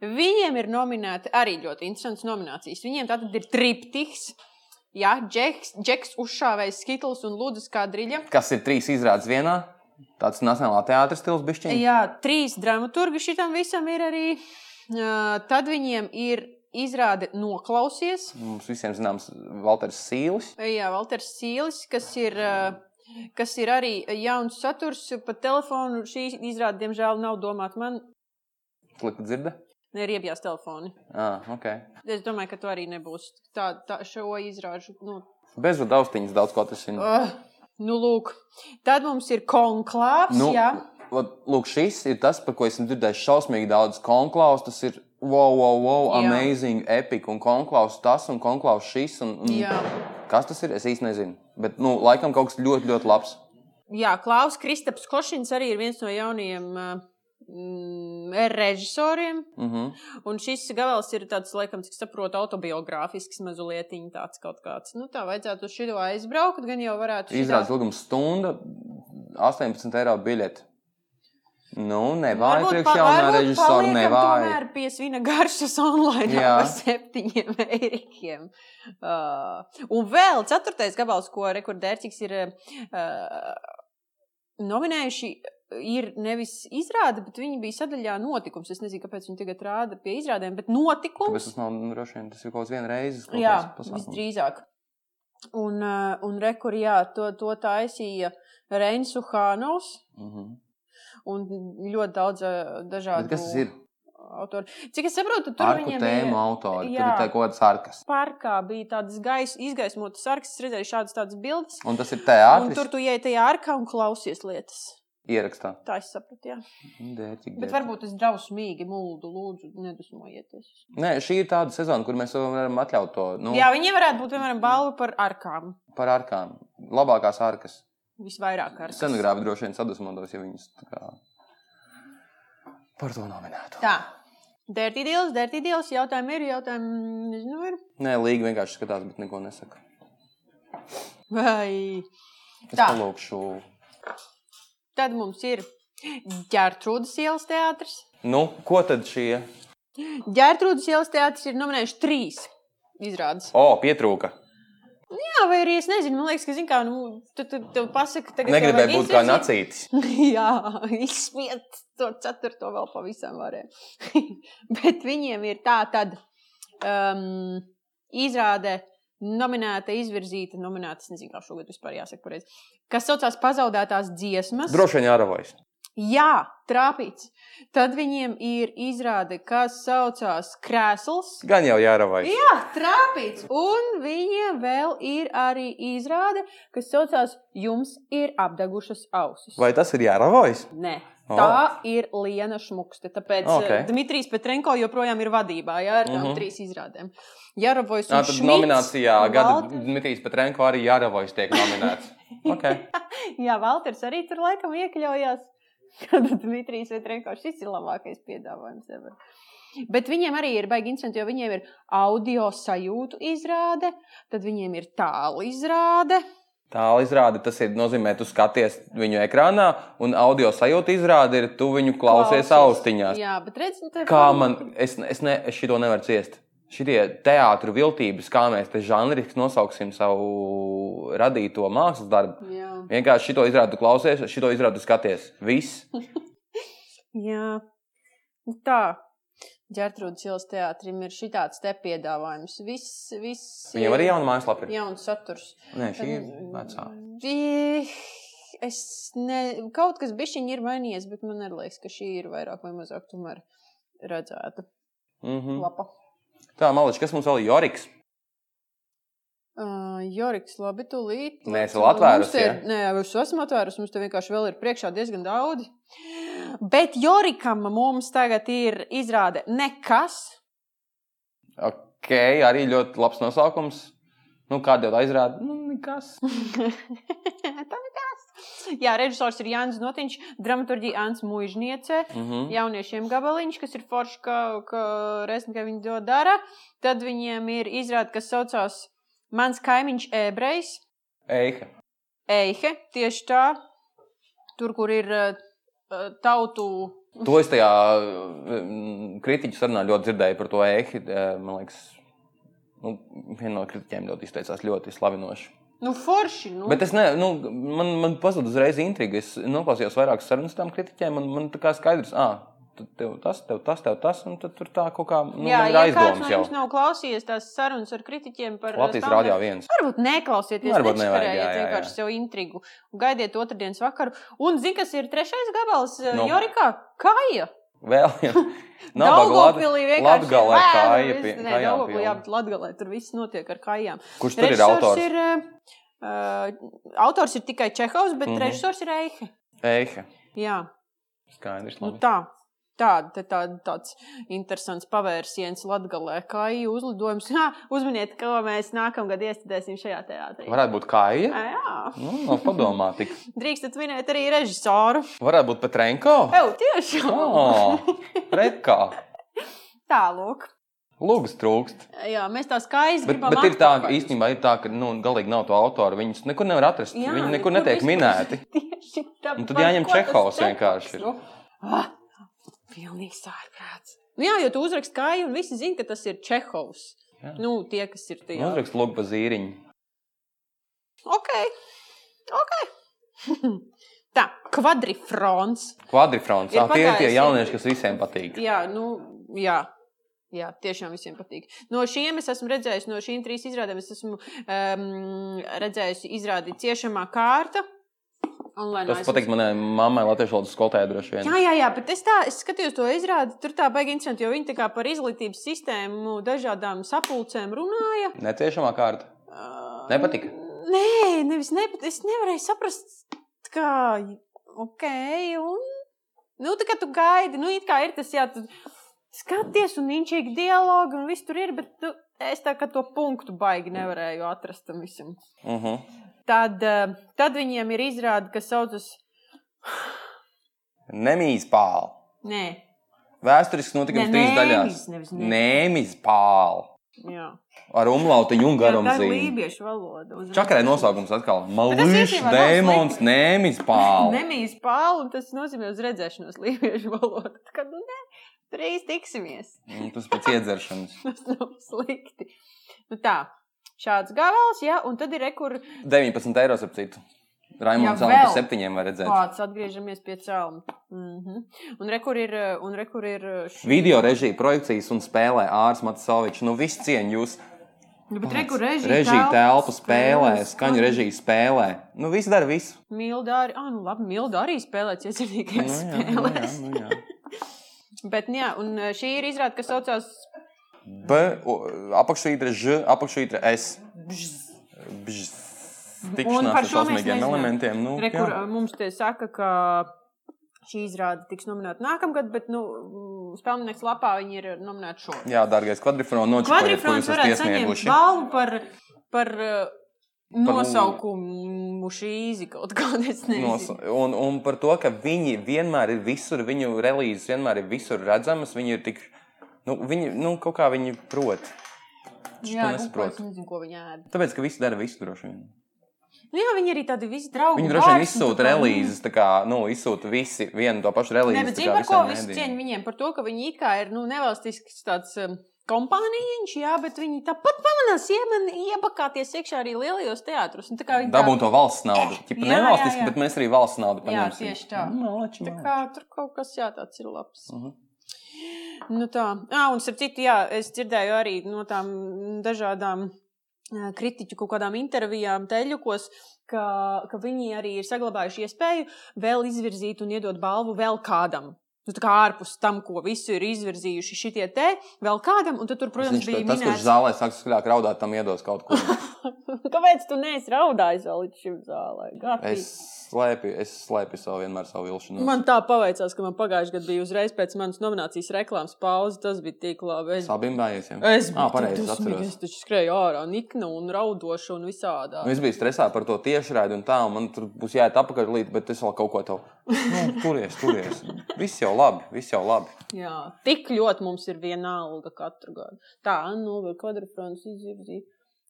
B: Viņiem ir nominēti arī ļoti interesants nominācijas. Viņiem tātad ir triptiks. Jā, Džeks, Džeks uzšāvējs Skitls un Lūdzes kā driļa.
A: Kas ir trīs izrādes vienā? Tāds nacionālā teātris stils bišķiņš.
B: Jā, trīs dramaturgi šitam visam ir arī. Uh, Tad viņiem ir izrāde noklausies.
A: Mums visiem zināms Valters Sīlis.
B: Jā, Valters Sīlis, kas ir, ā, kas ir arī eh, jauns saturs pa telefonu. Šī izrāde, diemžēl, nav domāta man.
A: Klikšķi dzirdi?
B: Ir iebjās telefoni.
A: Ah, ok.
B: Es domāju, ka tu arī nebūs tā, tā šo izrāžu. Nu,
A: Bez austiņas daudz ko tas ir.
B: uh, nu, lūk. Tad mums ir konklāvs.
A: Nu,
B: Nu, jā,
A: vat, lūk, šis ir tas, par ko esmu dzirdējis šausmīgi daudz konklaus. Tas ir wow, wow, wow,
B: Jā.
A: amazing, epic, un konklaus tas, un konklaus šis. Un, un,
B: jā.
A: Kas tas ir? Es īsti nezinu. Bet, nu, laikam kaut kas ļoti, ļoti labs.
B: jā Klaus Kristaps Košins arī ir viens no jaunajiem. ā, mm, Režisoriem,
A: Mm -hmm.
B: un šis gabals ir tāds, laikam, cik saprotu, autobiogrāfisks mazliet tāds kaut kāds. Nu, tā vajadzētu uz šo aizbraukt, gan jau varētu. šitā-
A: Izrādās ilgums stunda, 18 eiro biļete. Nu, nevajag
B: Varbūt
A: priekš
B: pa-
A: jaunā
B: varbūt
A: režisora,
B: paliekam
A: nevajag.
B: Tomēr piesvina garšas online
A: Jā.
B: ar septiņiem (laughs) eirikiem. Uh, un vēl ceturtais gabals, ko rekordērcīgs ir uh, nominējuši, ir nevis izrāde, bet viņi bija sadaļā notikums. Es nezinu, kāpēc viņi tagad rāda pie izrādēm, bet
A: Tāpēc
B: notikums.
A: tas nav nu, droši vien, tas ir kaut kāds vienreizes. kaut
B: Jā,
A: kāds pasākums.
B: visdrīzāk. Un, uh, un rekur, jā, to, to taisīja Reins Uhanovs
A: Mhm.
B: un ļoti daudz uh,
A: Bet
B: dažādu.
A: Kas tas ir?
B: autori. Cik es saprotu, tur
A: Ar ko
B: viņiem
A: tēmu
B: bija.
A: autori? Tur
B: Jā.
A: ir tā kaut kāds sarkas.
B: Parkā bija tādas gaisa izgaismotas sarkas, es redzēju šādas tādas bildes.
A: Un tas ir
B: Un tur
A: teātris
B: tu ej tajā arkā un klausies lietas.
A: ierakstā.
B: Tā es sapratu, jā.
A: Dēķi,
B: Bet varbūt es drausmīgi mūldu, lūdzu, nedusmojieties.
A: Nē, šī ir tāda sezona, kur mēs varam atļaut to nu,
B: Jā, viņiem varētu būt, piemēram, balva par arkām.
A: par arkām. Labākās arkas.
B: Visvairāk ar
A: Scenogrāfi droši vien sadusmotos, ja viņas tā kā, par to nominētu.
B: Tā. Dērtī dīls, dērtī dīls, jautājumi ir, jautājumi nezinu, ir.
A: Nē, Līga vienkārši skatās, bet neko nesaka.
B: Vai.
A: Es
B: Tā.
A: palūkšu.
B: Tad mums ir ģērtrūdas ielas teātris.
A: Nu, ko tad šie?
B: Ģērtrūdas ielas teātris ir nominējuši trīs izrādes.
A: O, pietrūka.
B: Jā, vai arī es nezinu, man liekas, ka, zin, kā, nu, tu, tu, tu pasaki, tagad tev vajag
A: Negribēju būt kā
B: izvirzīt.
A: nacītis.
B: (laughs) Jā, izspiest to ceturto vēl pavisam varēja. (laughs) Bet viņiem ir tā tad um, izrāde. Nominēta, izvirzīta, nominēta. Es nezinu, kā šogad vispār jāsaka pareizi. Kas saucās pazaudētās dziesmas.
A: Droši vien jāravojas.
B: Jā, trāpīts. Tad viņiem ir izrāde, kas saucās krēsls.
A: Gan jau jāravojas.
B: Jā, trāpīts. Un viņiem vēl ir arī izrāde, kas saucās Jums ir apdagušas ausis.
A: Vai tas ir jāravojas?
B: Nē.
A: O.
B: Tā ir Liena Šmukste. Tāpēc okay.
A: Oh. Ok.
B: Dmitrijs Petrenko joprojām ir vadībā jā, ar tām mm
A: Mhm.
B: -hmm. trīs izrādēm. Jā, Ravojas.
A: Jā, tad nominācijā gada
B: Valters,
A: Dmitrijs Petrenko arī jāravojas tiek
B: (laughs)
A: nominēts. Okay.
B: jā, Valters arī tur laikam iekļaujās. (laughs) Kad Dmitrijs Petrenko šis ir labākais piedāvājums. Ever. Bet viņiem arī ir baigi interesanti, jo viņiem ir audio sajūtu izrāde, tad viņiem ir tālu izrāde.
A: Tālā izrāde tas ir, nozīmē, tu skaties viņu ekrānā, un audio sajūta izrāde ir, tu viņu klausies, klausies. austiņās.
B: Jā, bet nu, redziet,
A: Kā man, es, es, ne, es šito nevaru ciest. Šitie teātris, viltības, kā mēs te žanriski nosauksim savu radīto mākslas darbu.
B: Jā.
A: Vienkārši šito izrādi tu klausies, šito izrādi tu skaties. Viss.
B: Jā, Nu tā. Gertrūdas ielas teātrim ir šī tāds te piedāvājums. Viss, viss
A: Viņam arī jauna mājaslapa ir.
B: jauns saturs.
A: Nē, šī ir vecā.
B: Vi- es ne, kaut kas bišķiņi ir mainījies, bet man arī liekas, ka šī ir vairāk vai mazāk tomēr redzēta
A: Mm -hmm.
B: lapa.
A: Tā, Maličs, kas mums vēl ir Joriks?
B: Uh, Joriks, labi, tūlīt.
A: Nē, es vēl atvērus,
B: Mums te ir- Nē, es esmu atvērus, mums te vienkārši vēl ir priekšā diezgan daudz. Bet Jorikam mums tagad ir izrāde nekas.
A: Ok, arī ļoti labs nosaukums. Nu, kāda jau tā izrāda? Nu, nekas.
B: (laughs) Tā nekas. Jā, režisors ir Jānis Notiņš, dramaturgija Ants Mūžniece.
A: Mhm.
B: jauniešiem gabaliņš, kas ir forši, ka, ka reizē viņi to dara. Tad viņiem ir izrāde, kas saucās Mans kaimiņš ebrejs,
A: Eiha.
B: Eihe, tieši tā, tur, kur ir eh, tautu.
A: To es tajā mm, kritiķu sarunā ļoti dzirdēju par to eihi. Eh, Man liekas, nu, viena no kritiķiem ļoti izteicās ļoti slavinoši.
B: Nu, forši. Nu.
A: Bet es ne, nu, man, man pazuda uzreiz intriga. Es noklausījos vairākas sarunas ar tām kritiķiem, un man tā kā skaidrs, ah, tu- tev tas, tev tas, tev tas, un tad tur tā kaut kā nu,
B: Jā,
A: man ir
B: ja kāds
A: aizdomas
B: no
A: jau.
B: jums nav klausījies tās sarunas ar kritiķiem par eh,
A: Latvijas
B: standartu-
A: rādījā viens.
B: Varbūt neklausieties,
A: Varbūt
B: varbūt
A: nevajag, jā,
B: nespējiet
A: jā,
B: vienkārši
A: jā.
B: sev intrigu. Gaidiet otrdienas vakaru. Un zini, kas ir trešais gabals?
A: Nu.
B: No. Jorikā, kāja.
A: Vēl viens.
B: Daugavpilī vienkārši ir
A: Latgalē
B: lēna,
A: kāja
B: viss-
A: pie
B: nē,
A: kājām
B: Daugavpilī, Jā,
A: pilna.
B: bet Latgalē tur viss notiek ar kājām.
A: Kurš tur ir
B: Režisors
A: autors?
B: Ir, uh, autors ir tikai Čehovs, bet mm
A: Mhm.
B: -hmm. režisors ir Eihe.
A: Eiha.
B: Jā,
A: Skaidrs.
B: nu
A: labi.
B: tā. Tāda tā, tā, tāds interesants pavērsiens Latgalē, kā arī uzlidojums. (laughs) Jā, uzminiet, ko mēs nākamgad iestudēsim šajā teātrī.
A: Varētu būt kāja.
B: Ā, Jā,
A: Nu, nav padomā tik.
B: drīkstat minēt arī režisoru.
A: Varētu būt
B: (laughs)
A: Petrenko.
B: Tev tieši
A: Oh, Retkā.
B: tālāk.
A: Lūgas trūkst.
B: Jā, mēs tā skaisti
A: Bet,
B: gribam.
A: bet ir tā, ka
B: atpakaļ.
A: īstenībā ir tā, ka nu, galīgi nav to autoru. Viņus nekur nevar atrast.
B: Jā,
A: Viņi
B: nekur
A: nekur netiek
B: vispār.
A: minēti.
B: Tieši tāpat.
A: Un tad jāņem Čehovs vienkārši ir.
B: Nu, ah, pilnīgi sārprāts. Nu, jā, jo tu uzrakst kāju, un visi zina, ka tas ir Čehovs.
A: Jā.
B: Nu, tie, kas ir tie.
A: Uzrakst lūgu pa zīriņu.
B: Ok, ok. (laughs) tā, kvadrifrons.
A: Kvadrifrons.
B: Ir
A: Ah, Tie ir tie
B: pagājis-
A: jaunieši, kas visiem patīk.
B: Jā, nu, jā. Jā, tiešām visiem patīk. No šiem es esmu redzējis, no šīm trīs izrādēm es esmu um, redzējis izrādi ciešamā kārta. Un, lai
A: Tas
B: neesmu
A: pateiks manai mammai latviešu valodas skolotājai droši vien.
B: nu, Jā, jā, jā, bet es, tā, es skatījos to izrādi. Tur tā baigi interesanti, jo viņi tā kā par izglītības sistēmu, dažādām sapulcēm runāja.
A: Neciešamā kārta.
B: Ā,
A: Nepatika?
B: Nē, nevis nepatika. Es nevarēju saprast, tā kā, ok, un. Nu, tā kā tu gaidi, nu, it kā ir tas, jā, tu skaties, un viņš ir dialogi, un viss tur ir, bet tu, es tā kā to punktu baigi nevarēju atrast tam visam
A: Uh -huh.
B: tad, eh, tad viņiem ir izrāde, kas saucas.
A: Nemīs pāli.
B: Nē,
A: Vēsturisks notikums
B: Nē,
A: trīs daļās.
B: nēmis, nevis nē.
A: Nēmis pāli.
B: Jā,
A: Ar umlautiņu un garumu
B: tā ir
A: zīmēm.
B: lībiešu valoda. uzreiz.
A: Čakarai nosaukums atkal.
B: tas
A: Malīšs,
B: īstenībā nav
A: dēmons,
B: slikti.
A: nēmis pāli.
B: Nemīs pāri, tas nozīmē uz redzēšanos lībiešu valodā. Tā Kā, nu, nē, trīs tiksimies. (laughs)
A: Un Mm, Tas pēc iedzeršanas.
B: Tas nav slikti. Nu, tā, šāds gabals, jā, un tad ir rekur
A: 19 eiro ap citu. Raimons
B: Jā,
A: Zalma par
B: vēl.
A: septiņiem var redzēt.
B: pārts, atgriežamies pie cēluma. Mm -hmm. Un rekur ir, eh, un rekur ir eh, šī.
A: Video režija, projekcijas un spēlē Ārs Matsovičs. Nu, viss cieņu jūs.
B: Nu, bet
A: Pats.
B: rekur režija.
A: Režija telpu spēlē,
B: spēles,
A: skaņu režija spēlē. Nu, viss dara
B: (laughs)
A: visu.
B: Milda arī, ah, nu labi, Milda arī spēlē
A: Nu,
B: cietvienīgajās
A: jā, nu, jā,
B: spēlēs.
A: nu, jā.
B: Bet, nu jā, un eh, šī ir izrāde, kas saucās
A: B, o, apakšvītra Ž, apakšvītra S. Bžz.
B: Un
A: Tikšanās
B: par
A: ar
B: šo mēs
A: šausmīgiem
B: nezinām.
A: elementiem. Nu,
B: Re,
A: jā.
B: kur eh, mums te saka, ka šī izrāde tiks nominēta nākamgad, bet nu, mm, spēlnieks lapā viņi ir nominēti šogad.
A: Jā, dārgais, kvadrifrons noķerties, ko
B: Kvadrifrons
A: jūs esat
B: varētu saņemt
A: iesnieguši.
B: balvu par, par eh, nosaukumu šīzi kaut kādas
A: Nos,
B: nezinu.
A: un, un par to, ka viņi vienmēr ir visur, viņu relīzes vienmēr ir visur redzamas. Viņi ir tik, nu, viņi, nu kaut kā viņi prot. to
B: Jā, nu,
A: nesaprotu.
B: es nezinu, ko viņi ēd.
A: Tāpēc, ka visi dara visu droši vien.
B: Nu, jā, viņi arī tādi visi draugi.
A: Viņi droši vien
B: bars, un tā
A: izsūta
B: kā, mm.
A: relīzes, tā kā, nu, izsūta visi vienu to pašu relīzi.
B: Nē, bet zini, par ko visu cieņu viņiem par to, ka viņi it kā ir nu, nevalstisks tāds um, kompānijiņš, jā, bet viņi tāpat pamanās iemen, iebakāties iekšā arī lielajos teātros. Un tā kā viņi tā-
A: Dabūn to valsts naudu. Ķipa,
B: Eh, Jā, jā,
A: nevalstiski,
B: jā.
A: bet mēs arī valsts naudu
B: Jā,
A: paņemsim.
B: tieši tā.
A: Malači,
B: Tā
A: malači.
B: kā tur kaut kas jā, tāds ir labs.
A: Mhm.
B: Nu tā, à, un starp citu, jā, es dzirdēju arī no tām dažādām eh, kritiķu kaut kādām intervijām, teļukos, ka, ka viņi arī ir saglabājuši iespēju vēl izvirzīt un iedot balvu vēl kādam. Nu, tā kā ārpus tam, ko visu ir izvirzījuši šitie te, vēl kādam, un tad, tur, protams,
A: Viņš,
B: bija
A: tas, kurš
B: minēts,
A: zālē sāks skrāt raudāt, tam iedos kaut ko.
B: (laughs) kāpēc tu neesi raudājis vēl līdz šim zālē. Gatīgi.
A: Es slēpju, es slēpju savu vienmēr savu vilšanos.
B: Man tā paveicās, ka man pagājušajā gadā bija uzreiz pēc manas nominācijas reklāmas pauze. Tas bija tik labi. Es,
A: Sabimbājies. jā?
B: es
A: Ā, Ah, pareizi,
B: tik dusmīga,
A: atceros.
B: Es taču skrēju ārā, nikna un raudoša un visādā.
A: Nu, es biju stresā par to tiešraidi, un tā, un man tur būs jāiet apakaļ līdzi, bet es vēl kaut ko tādu. Nu, turies, turies. Viss jau labi, viss jau labi.
B: Jā, tik ļoti mums ir viena alga katru gadu. Tā, nu, vai kvadrants izvirzīja.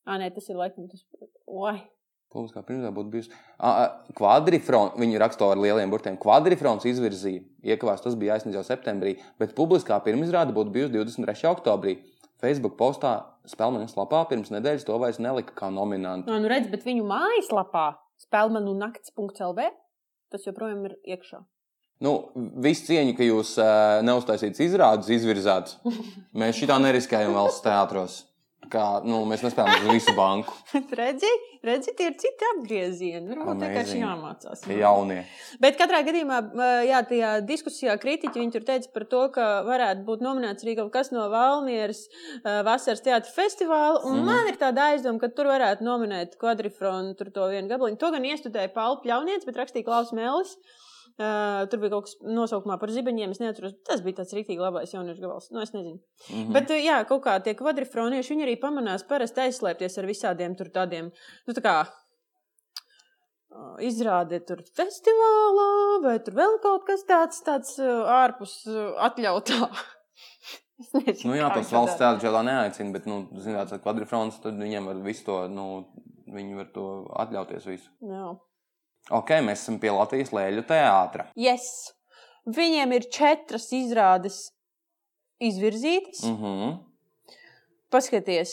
B: Ah, nē, tas ir laikam tas. Oi,
A: Plus, kā pirmā būtu bijusi. Kvadrifrons, viņu raksturo ar lieliem burtiem. Kvadrifrons izvirzīja, iekavās tas bija aizsniegts jau septembrī, bet publiskā pirmizrāde būtu bijusi 23. oktobrī. Facebook postā Spēlmaņas lapā pirms nedēļas to vairs nelika kā nominantu.
B: Nā, nu redz, bet viņu mājaslapā nu spēlmanu nakts.lv tas joprojām ir iekšā. (laughs)
A: Nu, viss cieņa, ka jūs uh, neuztaisīts izrādes,
B: (laughs)
A: izvirzāts. Mēs šitā neriskējam valsts teātros. Kā, nu, mēs nespējam uz visu banku.
B: redzi, redzi, tie ir citi apgriezieni. Varbūt vienkārši
A: Amazing.
B: jāmācās.
A: Tie jaunie.
B: Bet katrā gadījumā, eh, jā, tajā diskusijā kritiķi viņi tur teica par to, ka varētu būt nominēts arī kaut kas no Valmieras eh, vasaras teātra festivāla. Un mm.
A: Mhm.
B: man ir tāda aizdoma, ka tur varētu nominēt kvadrifronu, tur to vienu gabaliņu. To gan iestudēja Pāvils Pļauniets, bet rakstīja Klaus Mēlis. Uh, tur bija kaut kas nosaukumā par zibeņiem. Es neatceros, bet tas bija tāds rīktīgi labais jauniešu gabals. Nu, es nezinu.
A: Mhm.
B: Mm. Bet, eh, jā, kaut kā tie kvadrifronieši, viņi arī pamanās parasti aizslēpties ar visādiem tur tādiem, nu, tā kā izrāde tur festivālā, vai tur vēl kaut kas tāds, tāds uh, ārpus uh, atļautā. (laughs) Es nezinu,
A: Nu, jā,
B: kā
A: tas
B: viņš to
A: valsts
B: dara.
A: teātris jau neaicina, bet, nu, zināt, ar kvadrifrons, tad viņiem var visu to, nu, viņi var to atļauties visu.
B: Jā.
A: Ok, mēs esam pie Latvijas lēļu teātra.
B: Yes. Viņiem ir četras izrādes izvirzītas. Mm.
A: Uh -huh.
B: Paskaties,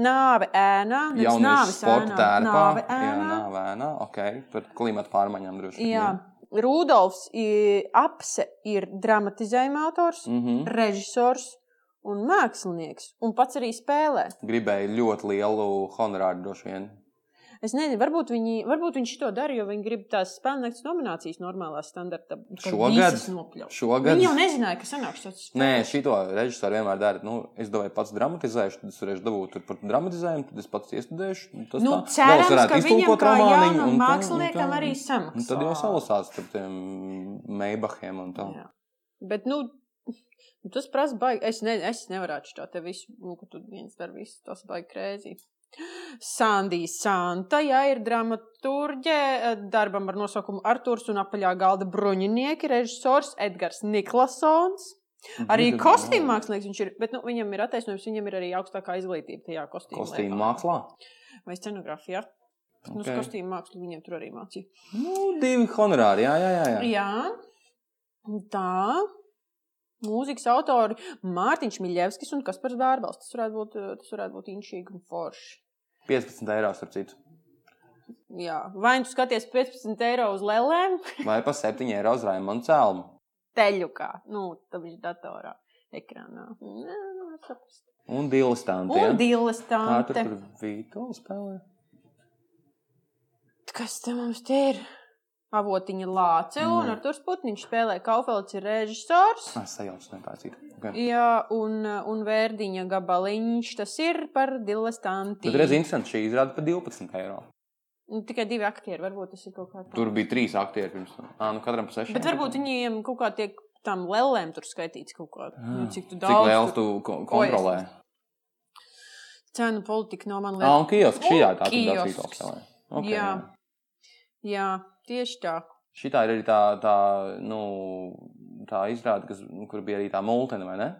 B: nāve ēnā, nevis
A: Jaunības
B: nāves
A: sporta
B: ēnā,
A: tērpā.
B: nāve
A: Jā,
B: ēnā.
A: nāvēnā. Ok, par klimatu pārmaiņām droši
B: Jā. Rudolfs i- Apse ir dramatizējuma autors, mm.
A: Uh -huh.
B: režisors un mākslinieks, un pats arī spēlē.
A: Gribēju ļoti lielu honorāru droši vien.
B: Es nezinu, varbūt viņi, varbūt viņi to dara, jo viņi grib tās spēļnakts nominācijas normālā standarta. ka
A: Šogad?
B: visas nopļaut.
A: Šogad.
B: Viņi jau nezināja, ka sanāks tas.
A: Nē, šito režisoru vienmēr dara. Nu, es domāju, pats dramatizēšu, tad es varēšu dabūt tur par dramatizējumu, tad es pats iestudēšu. Tas
B: Nu,
A: tā. Vēl es
B: cerams,
A: varētu
B: ka viņam
A: iztulkot
B: kā
A: romāniņu
B: jaunam
A: un tā, un
B: māksliniekam
A: tā.
B: arī
A: Un
B: samaksā.
A: tad jau salasās ar tiem meibahiem un tā.
B: Jā. Bet, nu, (laughs) nu, tas prasa baigi. Es, ne, es nevarētu šo te visu, nu, ka tu viens dar visu, tas baigi krēzī. Sandija Santa, jā, ir dramaturģe, eh, darbam ar nosaukumu Arthurs un apaļā galda bruņinieki, režisors Edgars Niklasons.
A: Mhm.
B: Arī
A: Gribi-
B: kostīm mākslinieks viņš ir, bet nu, viņam ir attaisnojums, viņam ir arī augstākā izglītība tajā kostīmā.
A: Kostīmu mākslā.
B: Vai scenogrāfijā. Okay. Nu, uz
A: Ok.
B: kostīmu mākslu viņam tur arī mācīja.
A: Nu, divi honorāri, jā, jā, jā.
B: Jā.
A: jā.
B: tā. Mūzikas autori Mārtiņš Miļevskis un Kaspars Bārbals. Tas varētu būt, eh, tas varētu būt inšīgi un forši.
A: 15 eiro ar citu.
B: Jā. Vai nu tu skaties 15 eiro uz lēlēm,
A: Vai pa 7 eiro uz Raimonda cēlumu.
B: (laughs) teļukā, nu, tad viņš datorā, ekrānā. Nē, nu, var saprast.
A: Un dilis tām.
B: Un Dīles
A: Tā tur
B: tante.
A: tur vītola spēlē.
B: Kas te mums te ir? Avotiņa Lāce mm. un
A: Mm.
B: Arturs Putniņš spēlē Kaufelds ir režisors.
A: Es sajaucu netācīt. Okay.
B: Jā, un, un vērdiņa gabaliņš tas ir par diletantu.
A: Tad redz, interesanti, šī izrāda pa 12 eiro.
B: Nu, tikai divi aktieri, varbūt tas ir kaut kā tāds.
A: Tur bija trīs aktieri pirms tam. Ā, nu katram pa 6.
B: Bet varbūt viņiem kaut kā tiek tam lēlēm tur skaitīts kaut kā. Nu, cik tu
A: Ah. Cik
B: daudz
A: liels
B: tu...
A: tu ko- kontrolē?
B: cenu politika no man
A: Ā,
B: liekas.
A: un kioski šī jā, tā
B: Un
A: tur daudz vītola
B: kiosks.
A: spēlē.
B: Jā.
A: Okay, jā.
B: Jā, tieši tā.
A: Šī ir arī tā, tā, nu, tā izrāde, kas, nu, kur bija arī tā mūtene, vai ne?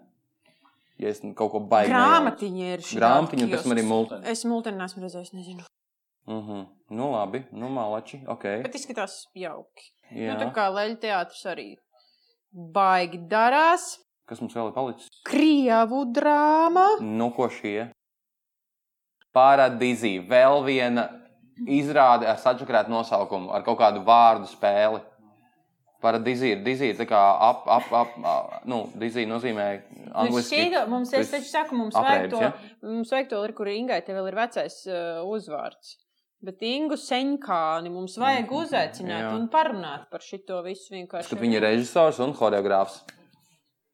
A: Ja es kaut ko baigtu.
B: Grāmatiņa ir šī.
A: Grāmatiņa, un pēc tam arī mūtene.
B: Es mūteni neesmu redzējis, nezinu.
A: Uh -huh. Nu, labi, nu, malači. Okay.
B: Bet izskatās jauki. Nu,
A: Jā.
B: tā kā leļu teātris arī baigi darās.
A: Kas mums vēl ir palicis?
B: Krievu drāma.
A: Nu, ko šie? Paradīzī. Vēl viena izrāde ar sačakrētu nosaukumu, ar kaut kādu vārdu spēli. Par dizīru. Dizīra tā kā ap, ap, ap, ap nu, dizīra nozīmē angliski.
B: Šķīdo, Nu, mums, es taču saku, mums vajag
A: aprēķis,
B: to,
A: ja?
B: mums vajag to, kur Ingai te vēl ir vecais uh, uzvārds. Bet Ingu Seņkāni mums vajag
A: Mhm,
B: uzaicināt
A: jā.
B: un parunāt par šito visu vienkārši.
A: Kad viņi ir režisors un horeogrāfs.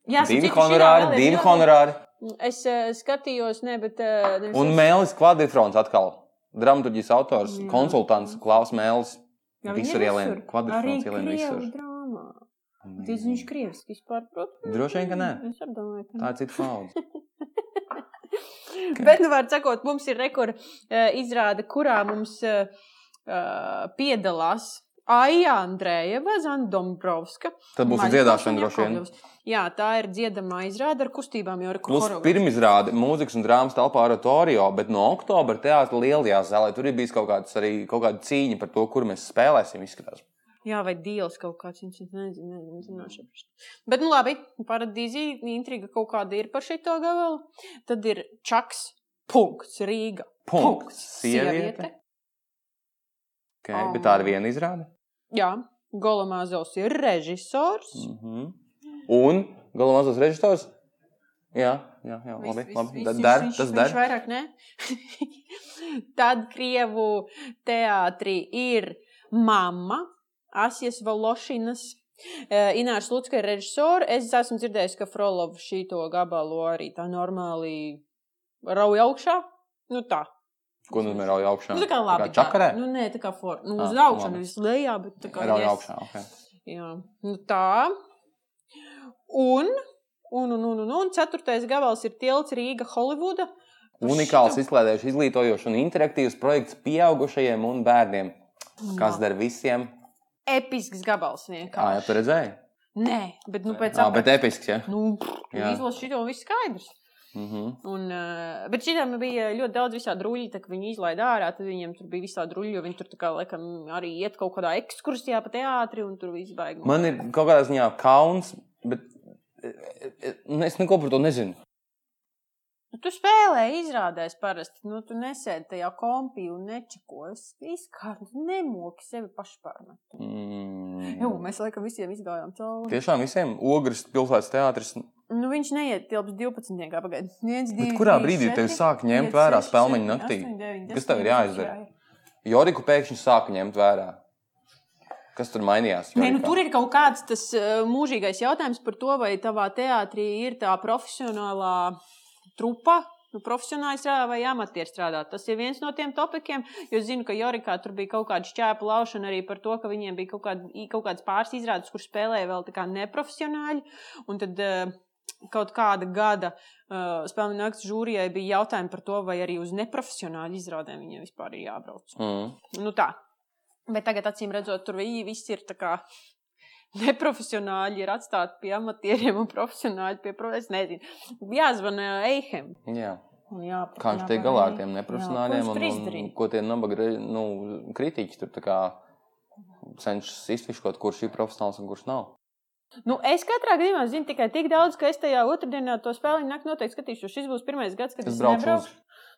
B: Jā, starp
A: Divi
B: citu, šī
A: honorāri,
B: vēl ir
A: divi
B: ļoti-
A: honorāri.
B: Es uh, skatījos, ne, bet. Uh, nevis
A: Un
B: es-
A: Mēlis Kvadrifrons atkal. Dramaturģijas autors,
B: Jā.
A: konsultants Klaus Mēlis.
B: Jā, viņi
A: Visur
B: ir
A: ielien,
B: visur. Arī
A: kvadrifrons ielien
B: Krievu
A: visur. Mm.
B: Drāmā. Diez viņš krieviski vispār prot?
A: Droši vien, ka nē.
B: Es arī domāju, ka
A: Tā ir cita
B: (laughs)
A: paudze.
B: Bet, nu, var sakot, mums ir rekords izrāde, kurā mums eh, eh, piedalās Aija Andrejeva, Zana Dombrovska.
A: Tad būs
B: Maļkovs un
A: dziedāšana droši vien.
B: Jakovlevs. Jā, tā ir dziedamā izrāde ar kustībām, jau ar
A: Mums
B: koreogrāfiju.
A: pirmizrāde mūzikas un drāmas telpā oratorijā, bet no oktobra teātra lielajā zālē tur ir bijis kaut, kāds, arī, kaut kāda cīņa par to, kur mēs spēlēsim. Izskatās.
B: Jā, vai dīls kaut kāds, viņš ir, nezinu, nezinu, nezināšu. par šo. Bet, nu, labi, paradīzī intriga kaut kāda ir par šito gabalu. Tad ir Čaks, punkts, Rīga,
A: Punkts. Sieviete. Okay,
B: Oh.
A: bet tā ir viena izrāde.
B: Jā, Golamāzovs ir režisors.
A: Mhm. Un galvenais mazais režisors. Jā, jā, jā labi.
B: Viss,
A: labi.
B: viss,
A: Da-
B: viss,
A: dar,
B: viņš-
A: tas
B: viņš
A: der.
B: Vairāk, ne? (laughs) Tad krievu teātrī ir mamma, Asijas Valošinas. eh, Inārs Lutska ir režisora. Es esmu dzirdējis, ka Frolov šito gabalu arī tā normāli rauj augšā. Nu tā.
A: Ko nozīmē rauj augšā?
B: Nu, tā kā labi. tā.
A: čakarē.
B: Nu, nē, tā kā for. Nu,
A: Ah,
B: uz augšu,
A: labi.
B: nevis lejā, bet tā kā.
A: Rauj
B: yes.
A: augšā. Okay.
B: Jā, nu tā. Un, un, un, un, un, un ceturtais gabals ir tilts Rīga, Holivuda. Nu,
A: Unikāls, izklaidējuši, izglītojošs un interaktīvs projekts pieaugušajiem un bērniem, kas der visiem.
B: nu, Episks gabals vienkārši.
A: Kā jau tur redzēji?
B: Nē, bet nu pēc
A: Jā, bet
B: tam.
A: episks. Ja?
B: Nu,
A: Jā.
B: izlasīt šito viss skaidrs.
A: Mhm.
B: Un, eh, bet šitām bija ļoti daudz visādi ruļļi, tā kā viņi izlaiž ārā. Tad viņiem tur bija visādi ruļļi, jo viņi tur tā kā laikam arī iet kaut kādā ekskursijā pa teātri un tur viss baigs.
A: Man ir kaut kādā ziņā kauns, bet e, e, es neko par to nezinu.
B: Nu, tu spēlē, izrādās, parasti. Nu, tu nesēdi tajā kompī un nečeko. Es izkārtu, nemoki sevi pašpārmet. Jā,
A: Mm.
B: mēs laikam visiem izgājām cauri.
A: Tiešām visiem ogres pilsētas teātris.
B: Nu, viņš neietilps 12. pagaidā. Viens,
A: Bet
B: divi,
A: kurā
B: trīs,
A: brīdī tev
B: četri,
A: sāk ņemt
B: pieci,
A: vērā
B: seši,
A: spēlmeņu
B: septiņi,
A: naktī?
B: astoņi, deviņi,
A: Kas
B: desmit,
A: tev ir jāizdara?
B: jā, jā.
A: Joriku pēkšņi sāka ņemt vērā. Kas tur mainījās?
B: Nē, nu,
A: Jorikā?
B: tur ir kaut kāds tas eh, mūžīgais jautājums par to, vai tavā teātrī ir tā profesionālā trupa. Nu, profesionāli strādā vai amatieris strādā. Tas ir viens no tiem topikiem. Jo es zinu, ka Jorikā tur bija kaut kāda šķēpa laušana arī par to, ka viņiem bija kaut, kāda, i- kaut kādas pāris izrādes, kur spēlēja vēl tā kā neprofesionāļi. Un tad eh, kaut kāda gada uh, spēļu nakts žūrijai bija jautājumi par to, vai arī uz neprofesionāļu izrādēm viņiem vispār ir jābrauc.
A: Mm.
B: Nu tā. Bet tagad, acīm redzot, tur vi- viss ir tā kā neprofesionāli, ir atstāti pie amatieriem un profesionāļi pie profesionāļiem. Es nezinu, jāzvana Eiham.
A: Jā. Kā viņš tiek galā ar tiem neprofesionāļiem un, un, un
B: izdarīt?
A: ko tie nabaga re- nu, kritiķi tur tā kā cenšas izfiškot, kurš ir profesionāls un kurš nav.
B: Nu, es katrā gadījumā zinu tikai tik daudz, ka es tajā otrdienā to spēli naktī noteikti skatīšos. Šis būs pirmais gads, kad
A: Es
B: es
A: braucu
B: nebraukšu.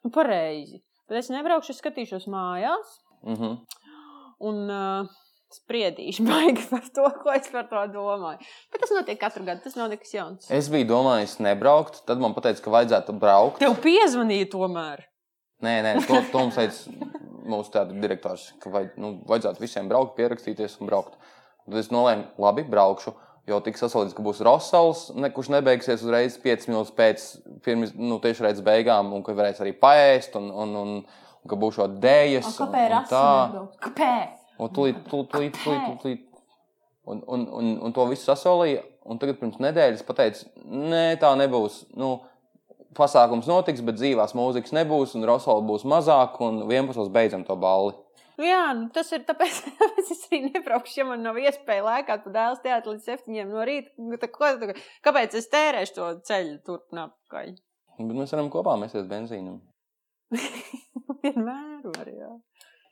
B: Nu, pareizi. Bet es nebraukšu, es skatīšos mājās
A: Mm -hmm.
B: un uh, spriedīšu baigi par to, (laughs) ko es par to domāju. Bet tas notiek katru gadu, tas nav nekas jauns.
A: Es biju domājis nebraukt, tad man teica, ka vajadzētu braukt.
B: Tev piezvanīja tomēr.
A: Nē, nē, to, to mums teica mūsu teātris direktors, ka vai, nu, vajadzētu visiem braukt, pierakstīties un braukt. Tad es nolēmu, labi, braukšu. Jo tik sasaudzīts, ka būs Rosals, ne, kurš nebeigsies uzreiz 5 minūtes pēc pirms, nu, tieši redzes beigām, un ka varēs arī paēst, un, un, un, un ka būs šo dēļas.
B: Kāpēc?
A: Un tūlīt, tūlīt,
B: Nu,
A: tūlīt, tūlīt, tūlīt, tūlīt. Un, un, un, un to visu sasolīja. Un tagad pirms nedēļas pateica, nē, tā nebūs. Nu, pasākums notiks, bet dzīvās mūzikas nebūs, un Rosola būs mazāk, un 11. beidzam to balli.
B: Nu jā, nu tas ir tāpēc, (laughs) tāpēc es arī nebraukšu, ja man nav iespēja lēkāt pa dēlu teātru līdz septiņiem no rīta. Nu, tā ko tā- Kāpēc es tērēšu to ceļu turp un (laughs) atpakaļ?
A: Bet mēs varam kopā mēsties benzīnu.
B: Vienmēr var, Nu, jā.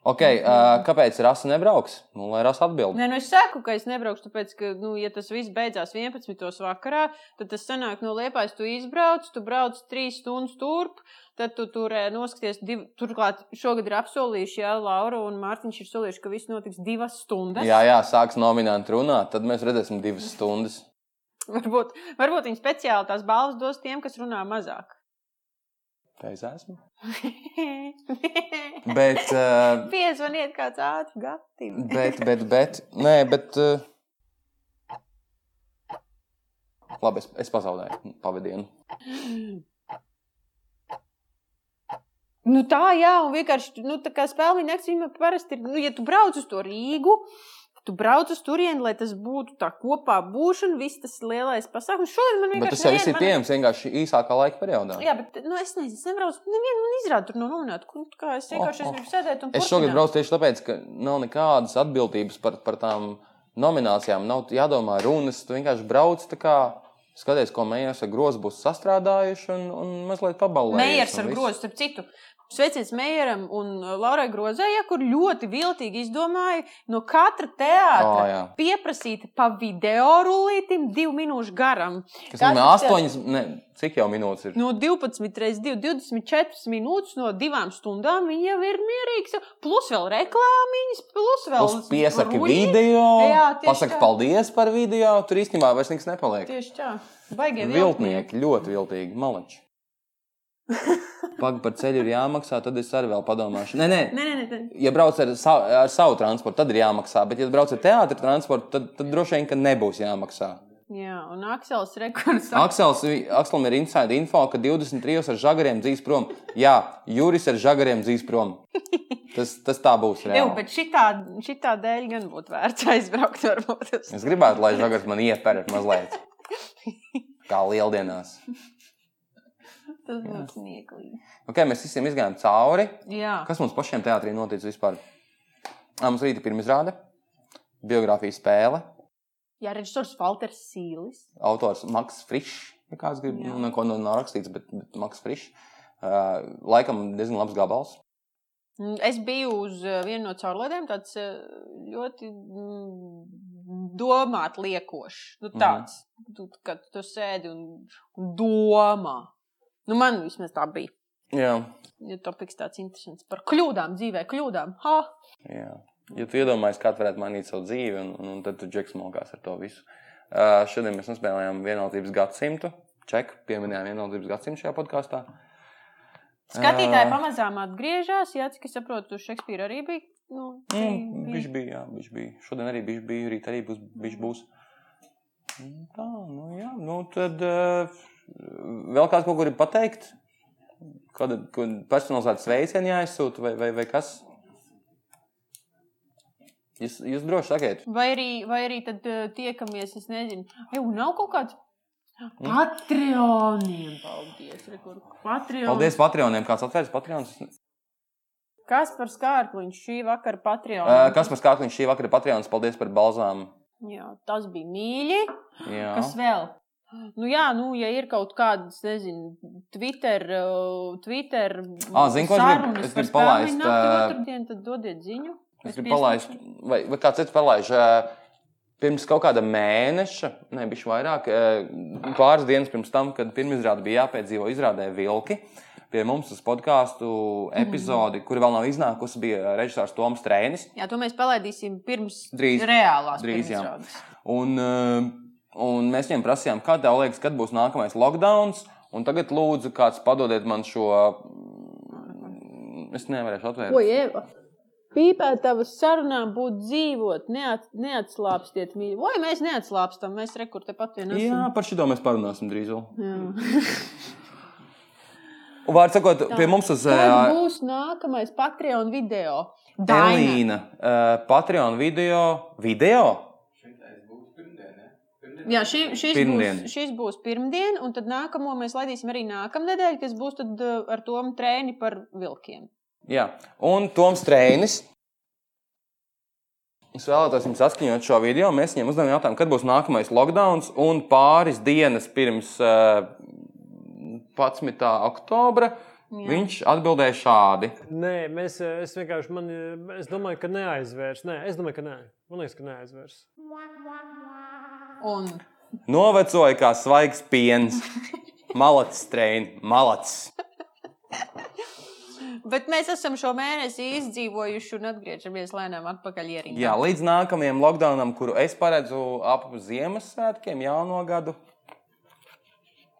A: Okay, uh, kāpēc Rasa nebrauks? Nu, lai Rasa atbild.
B: Nē, nu es saku, ka es nebraukšu, tāpēc, ka, nu, ja tas viss beidzās 11. vakarā, tad tas sanāk, no liepais tu izbrauc, tu brauc 3 stundas turp, tad tu tur eh, noskaties, div... turklāt šogad ir apsolījuši, ja Laura un Mārtiņš ir solījuši, ka viss notiks divas stundas.
A: Jā, jā, sāks nominanti runāt, tad mēs redzēsim divas stundas.
B: (laughs) Varbūt, varbūt viņi speciāli tās balvas dos tiem, kas runā mazāk. (laughs)
A: Tā es esmu. Bet, uh,
B: Piezvaniet kāds ātri gatim.
A: bet, bet, bet, nē, bet. Uh... Labi, es, es pazaudēju pavadienu.
B: Nu, tā jā, un vienkārši nu, tā kā spēlīņa akcija parasti ir, nu, ja tu brauc uz to Rīgu, tu brauc uz turieni, lai tas būtu tā kopā būšana, viss tas lielais pasākums. Šodien man
A: Bet
B: vienkārši
A: tas jau viss
B: nevien-
A: ir pieejams vienkārši īsākā laika periodā.
B: Man... Jā, bet nu, es nezinu, es nebraucu, nevienu man izrādu tur no nominēta. Nu, tā kā es
A: Oh,
B: vienkārši oh,
A: oh.
B: oh. gribu sēdēt un
A: Es šogad
B: turpināt.
A: braucu tieši tāpēc, ka nav nekādas atbildības par, par tām nominācijām. Nav jādomā runas. Tu vienkārši brauc tā kā skaties, ko mēs ar grozu būs sastrādājuši un, un mazliet pabalējuši.
B: Meijers
A: un
B: ar
A: viss.
B: grozu, starp citu. Sveiciens Meijeram un uh, Laurai Grozējai, kur ļoti viltīgi izdomāja no katra
A: Ā,
B: teātra
A: Oh, jā.
B: pieprasīt pa video rullītim divu minūšu garam.
A: Kas
B: Kas
A: nozīmē
B: tas ir?
A: astoņas, ne, cik jau minūtes ir?
B: No 12 reizes 2, 24 minūtes no divām stundām viņa jau ir mierīga. Plus vēl reklāmiņas, plus vēl
A: Plus piesaki
B: ruļi.
A: video,
B: Jā, tieši
A: pasaki
B: tā.
A: paldies par video. Tur īstenībā vairs nekas nepaliek.
B: Tieši tā. Baigie
A: Viltnieki ļoti viltīgi,
B: (laughs)
A: maleči. Pagaidām par ceļu ir jāmaksā, tad es arī vēl padomāšu. Nē, nē,
B: Nē, nē, nē, nē.
A: Ja brauc ar, sa ar savu transportu, tad ir jāmaksā. Bet, ja brauc ar teātrus transportu, tad, tad droši vien, ka nebūs jāmaksā.
B: Jā, un Aksels rekords.
A: Aksels, Akselam ir inside info, ka 23 ar žagariem dzīs prom. Jā, Juris ar žagariem dzīs
B: (laughs)
A: prom. Tas, tas tā būs.
B: Jau,
A: reāli.
B: bet šitā, šitā dēļ gan būtu vērts aizbraukt, varbūt. uz-
A: Es gribētu, lai žagars man iepērk mazliet. Kā lieldienās.
B: Tas būtu smieklīgi.
A: Okay, Nu, mēs visiem izgājām cauri.
B: Jā,
A: Kas mums pašiem teātrī noticis vispār? Ā, Mums rīta pirmizrāde, biogrāfijas spēle,
B: Jā režisors Walters Sīlis.
A: autors Maks Frišs. Ja kāds grib,
B: Jā.
A: nu, neko nav rakstīts, bet, bet Maks Frišs. Uh, laikam diezgan labs gabals.
B: Mm, Es biju uz eh, vienu no caurlaidēm, tāds eh, ļoti mm, domāt liekošs. Nu,
A: Mhm.
B: tāds, tu, kad tu sēdi un, un domā. Nu, man vismaz tā bija.
A: Jā,
B: Ja topiks tāds interesants par kļūdām dzīvē, kļūdām. Ha!
A: jā. Ja tu iedomājies, kā tu varētu mainīt savu dzīvi, un, un, un tad tu džeks mokās ar to visu. Uh, šodien mēs nospēlējām vienotības gadsimtu. Ček, pieminējām vienotības gadsimtu šajā podkāstā. Ā.
B: Skatītāji pamazām atgriežas. Jā, cik es saprotu, tur Šekspīra arī bija. Nu,
A: Mm,
B: bija-
A: viņš bija, jā, viņš bija. Šodien arī viņš bija, rīt arī būs. Viņš būs. Mm, Tā, nu jā, nu tad eh, vēl kāds kaut ko grib pateikt. Kāda kāda personalizēta sveiciena jāizsūta vai, vai, E vai kas? Jūs, jūs droši sakiet,
B: Vai arī, vai arī tad eh, tiekamies, es nezinu, jau nav kaut kāds.
A: Mm.
B: Patreoniem! Paldies! re, kur Patreon.
A: paldies Patreoniem, kāds atvērs Patreons.
B: Kas par skārkliņu šī vakara Patreon?
A: Eh, Kas par skārkliņu šī vakara Patreons, paldies par balzām.
B: Jā, tas bija mīļi.
A: Jā.
B: Kas vēl? Nu, jā, nu, ja ir kaut kādas, nezinu, Twitter, uh, Twitter
A: Ā, zini, ko es gribu-
B: sarunas
A: es
B: par
A: gribu palaist,
B: spēlēm,
A: ā,
B: nākamā otrdiena, tad dodiet ziņu.
A: Es gribu
B: pieslēgšu.
A: palaist, vai, vai kāds cits palaiž. ā, Pirms kaut kāda mēneša, nevis vairāk, ā, pāris dienas pirms tam, kad pirmizrāde bija jāpiedzīvo, izrādē vilki. Pie mums uz podkāstu epizodi, kur vēl nav iznākusi, bija režisors Toms Strēnis.
B: Jā, to mēs palaidīsim pirms
A: Drīz.
B: reālās
A: Drīz, jā.
B: pirmizrādes.
A: Un, ā, un mēs viņam prasījām, kā tev liekas, kad būs nākamais lockdown. Un tagad, lūdzu, kāds padodiet man šo. Es nevarēšu atvērt.
B: Ko jēva? Pīpētavas sarunā būt dzīvot, neat, neatslāpstiet mīļi. Vai mēs neatslāpstam, mēs rekur tepat vien esam.
A: Jā, par šo mēs parunāsim drīz. Vēl.
B: Jā.
A: Un, Vārds sakot, pie mums uz. ā,
B: Kad būs nākamais Patreon video? Daina.
A: Elīna, uh, Patreon video. video?
B: Jā, šī, šis,
A: Pirmdien.
B: būs, šis būs pirmdien, un tad nākamo mēs laidīsim arī nākamnedēļ, kas būs tad, uh, ar tomu trēni par vilkiem.
A: Jā. Un Toms Strēnis. Es vēlētos jums atskaņot šo video. Mēs viņam uzdevām jautājumu, kad būs nākamais lockdown. Un pāris dienas pirms uh, 11. eh, oktobra
B: Jā.
A: Viņš atbildēja šādi.
C: Nē, mēs, eh, es vienkārši man, eh, es domāju, ka neaizvērs. Nē, es domāju, ka nē. Man liekas, ka neaizvērs.
B: Un
A: Novecoja kā svaigs
B: (laughs)
A: piens. Malacis, strēni, malacis.
B: Bet mēs esam šo mēnesi izdzīvojuši un atgriežamies lēnām atpakaļ ieriņā.
A: Jā, līdz nākamajam lockdownam, kuru es paredzu ap Ziemassvētkiem, jauno gadu.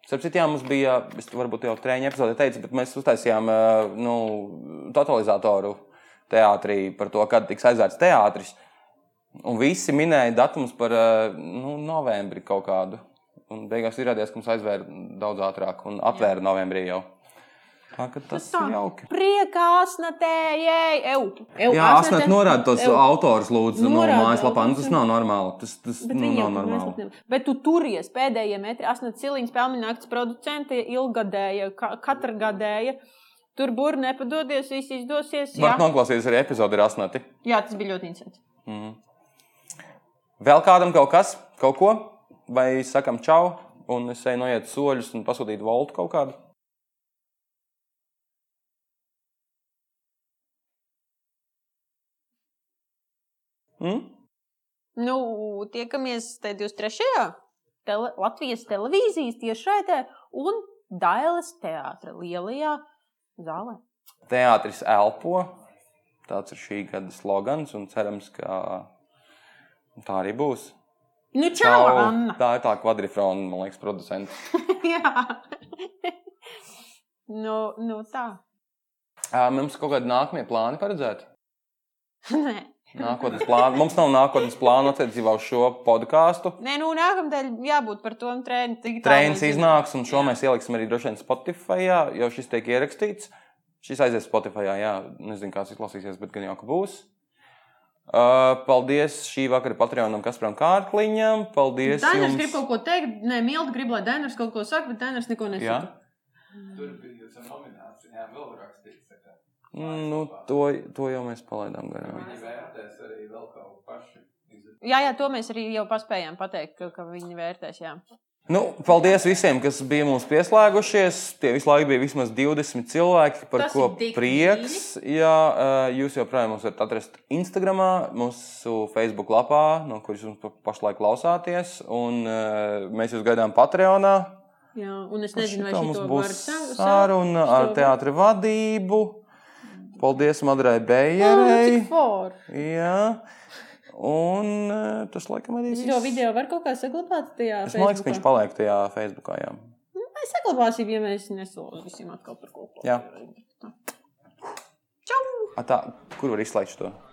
A: Starp citu, jā, mums bija, es varbūt jau treniņa epizodē teicu, bet mēs uztaisījām eh, nu, totalizatoru teātrī par to, kad tiks aizvērts teātris. Un visi minēja datumus par eh, nu, novembri kaut kādu. Un beigās izrādījās, ka mums aizvēra daudz ātrāk un atvēra novembrī jau. Tā, ka tas
B: tā.
A: ir jauki.
B: Priekā asnatējai! Ew, ew,
A: Jā, asnēt norāda tos
B: ew.
A: autors, lūdzu, no
B: Norāda
A: mājaslapā. Nu, tas
B: autors.
A: nav normāli. Tas, tas
B: Bet,
A: nu,
B: viņi jau
A: nav
B: tur
A: normāli.
B: neslapniem. bet tu turies pēdējie metri. Asnēta Ciliņas pelnīnakts producente ilgadēja, ka, katrgadēja. Tur burbuļs nepadodies, viss izdosies. Jā.
A: Varat noklausīties arī epizodi ar asnēti.
B: jā, tas bija ļoti interesanti.
A: Mhm. Vēl kādam kaut kas, kaut ko? Vai sakam čau, un es eju noiet soļus un pasūtīt voltu kaut kādu? Mm?
B: Nu, tiekamies te 23. Tele, Latvijas televīzijas tiešraidē un Dailas teātra lielajā zālē.
A: Teātris elpo. Tāds ir šī gada slogans, un cerams, ka tā arī būs.
B: Nu, čau,
A: Čau.
B: Anna! (laughs)
A: tā ir tā kvadrifrona, man liekas, producents.
B: Jā, nu, nu tā. (laughs)
A: Ā, Mums kaut kādi nākamie plāni paredzēti.
B: Nē,
A: Nākotnes plāni. Mums nav nākotnes plāna attiecībā uz šo podkāstu.
B: Nē nu, nākamajā jābūt par to treniņu.
A: Trends iznāks, un šo mēs ieliksim arī droši vien Spotify, jo šis tiek ierakstīts. Šis aizies Spotify, jā, nezinu, kāds izlasīsies, bet gan jau ka būs. Uh, paldies šī vakara Patreonam Kasparam Kārkliņam. Paldies!
B: Dainers
A: jums.
B: grib kaut ko teikt, nē, Milda grib, lai Dainers kaut ko saka, bet Dainers neko
A: Jā.
B: nesaka.
D: Tur bija tā nominācija, vēl rakstīts. tā kā
A: Nu, to, to jau mēs palaidām garām.
D: Viņi vērtēs arī vēl kaut ko pašu.
B: Jā, jā, to mēs arī jau paspējām pateikt, ka, ka viņi vērtēs. Jā.
A: Nu, paldies visiem, kas bija mums pieslēgušies. Tie visu laiku bija vismaz 20 cilvēki, par
B: Tas
A: ko
B: ir tik
A: prieks. Jā, eh, jūs joprojām mūs varat atrast Instagram, mūsu Facebook lapā, no kuras jūs pa- pašlaik klausāties. Un eh, mēs jūs gaidām Patreonā.
B: Jā, un es
A: Par
B: nezinu, vai
A: šito
B: šī
A: mums
B: to var
A: būs
B: sa- sa-
A: saruna
B: šo
A: ar
B: var-
A: teātri vadību. Paldies Madrai
B: Ā,
A: Bējerei.
B: cik forši.
A: Jā. Un eh, tas laikam arī
B: Es Šo
A: viss.
B: video var kaut kā saglabāt tajā.
A: Es domāju, ka viņš
B: Facebookā?
A: paliek tajā Facebookā. Jā.
B: Mēs saglabāsim, ja mēs nesolīsim atkal par kaut ko.
A: Jā.
B: Čau!
A: A, tā, kur var izslēgt to?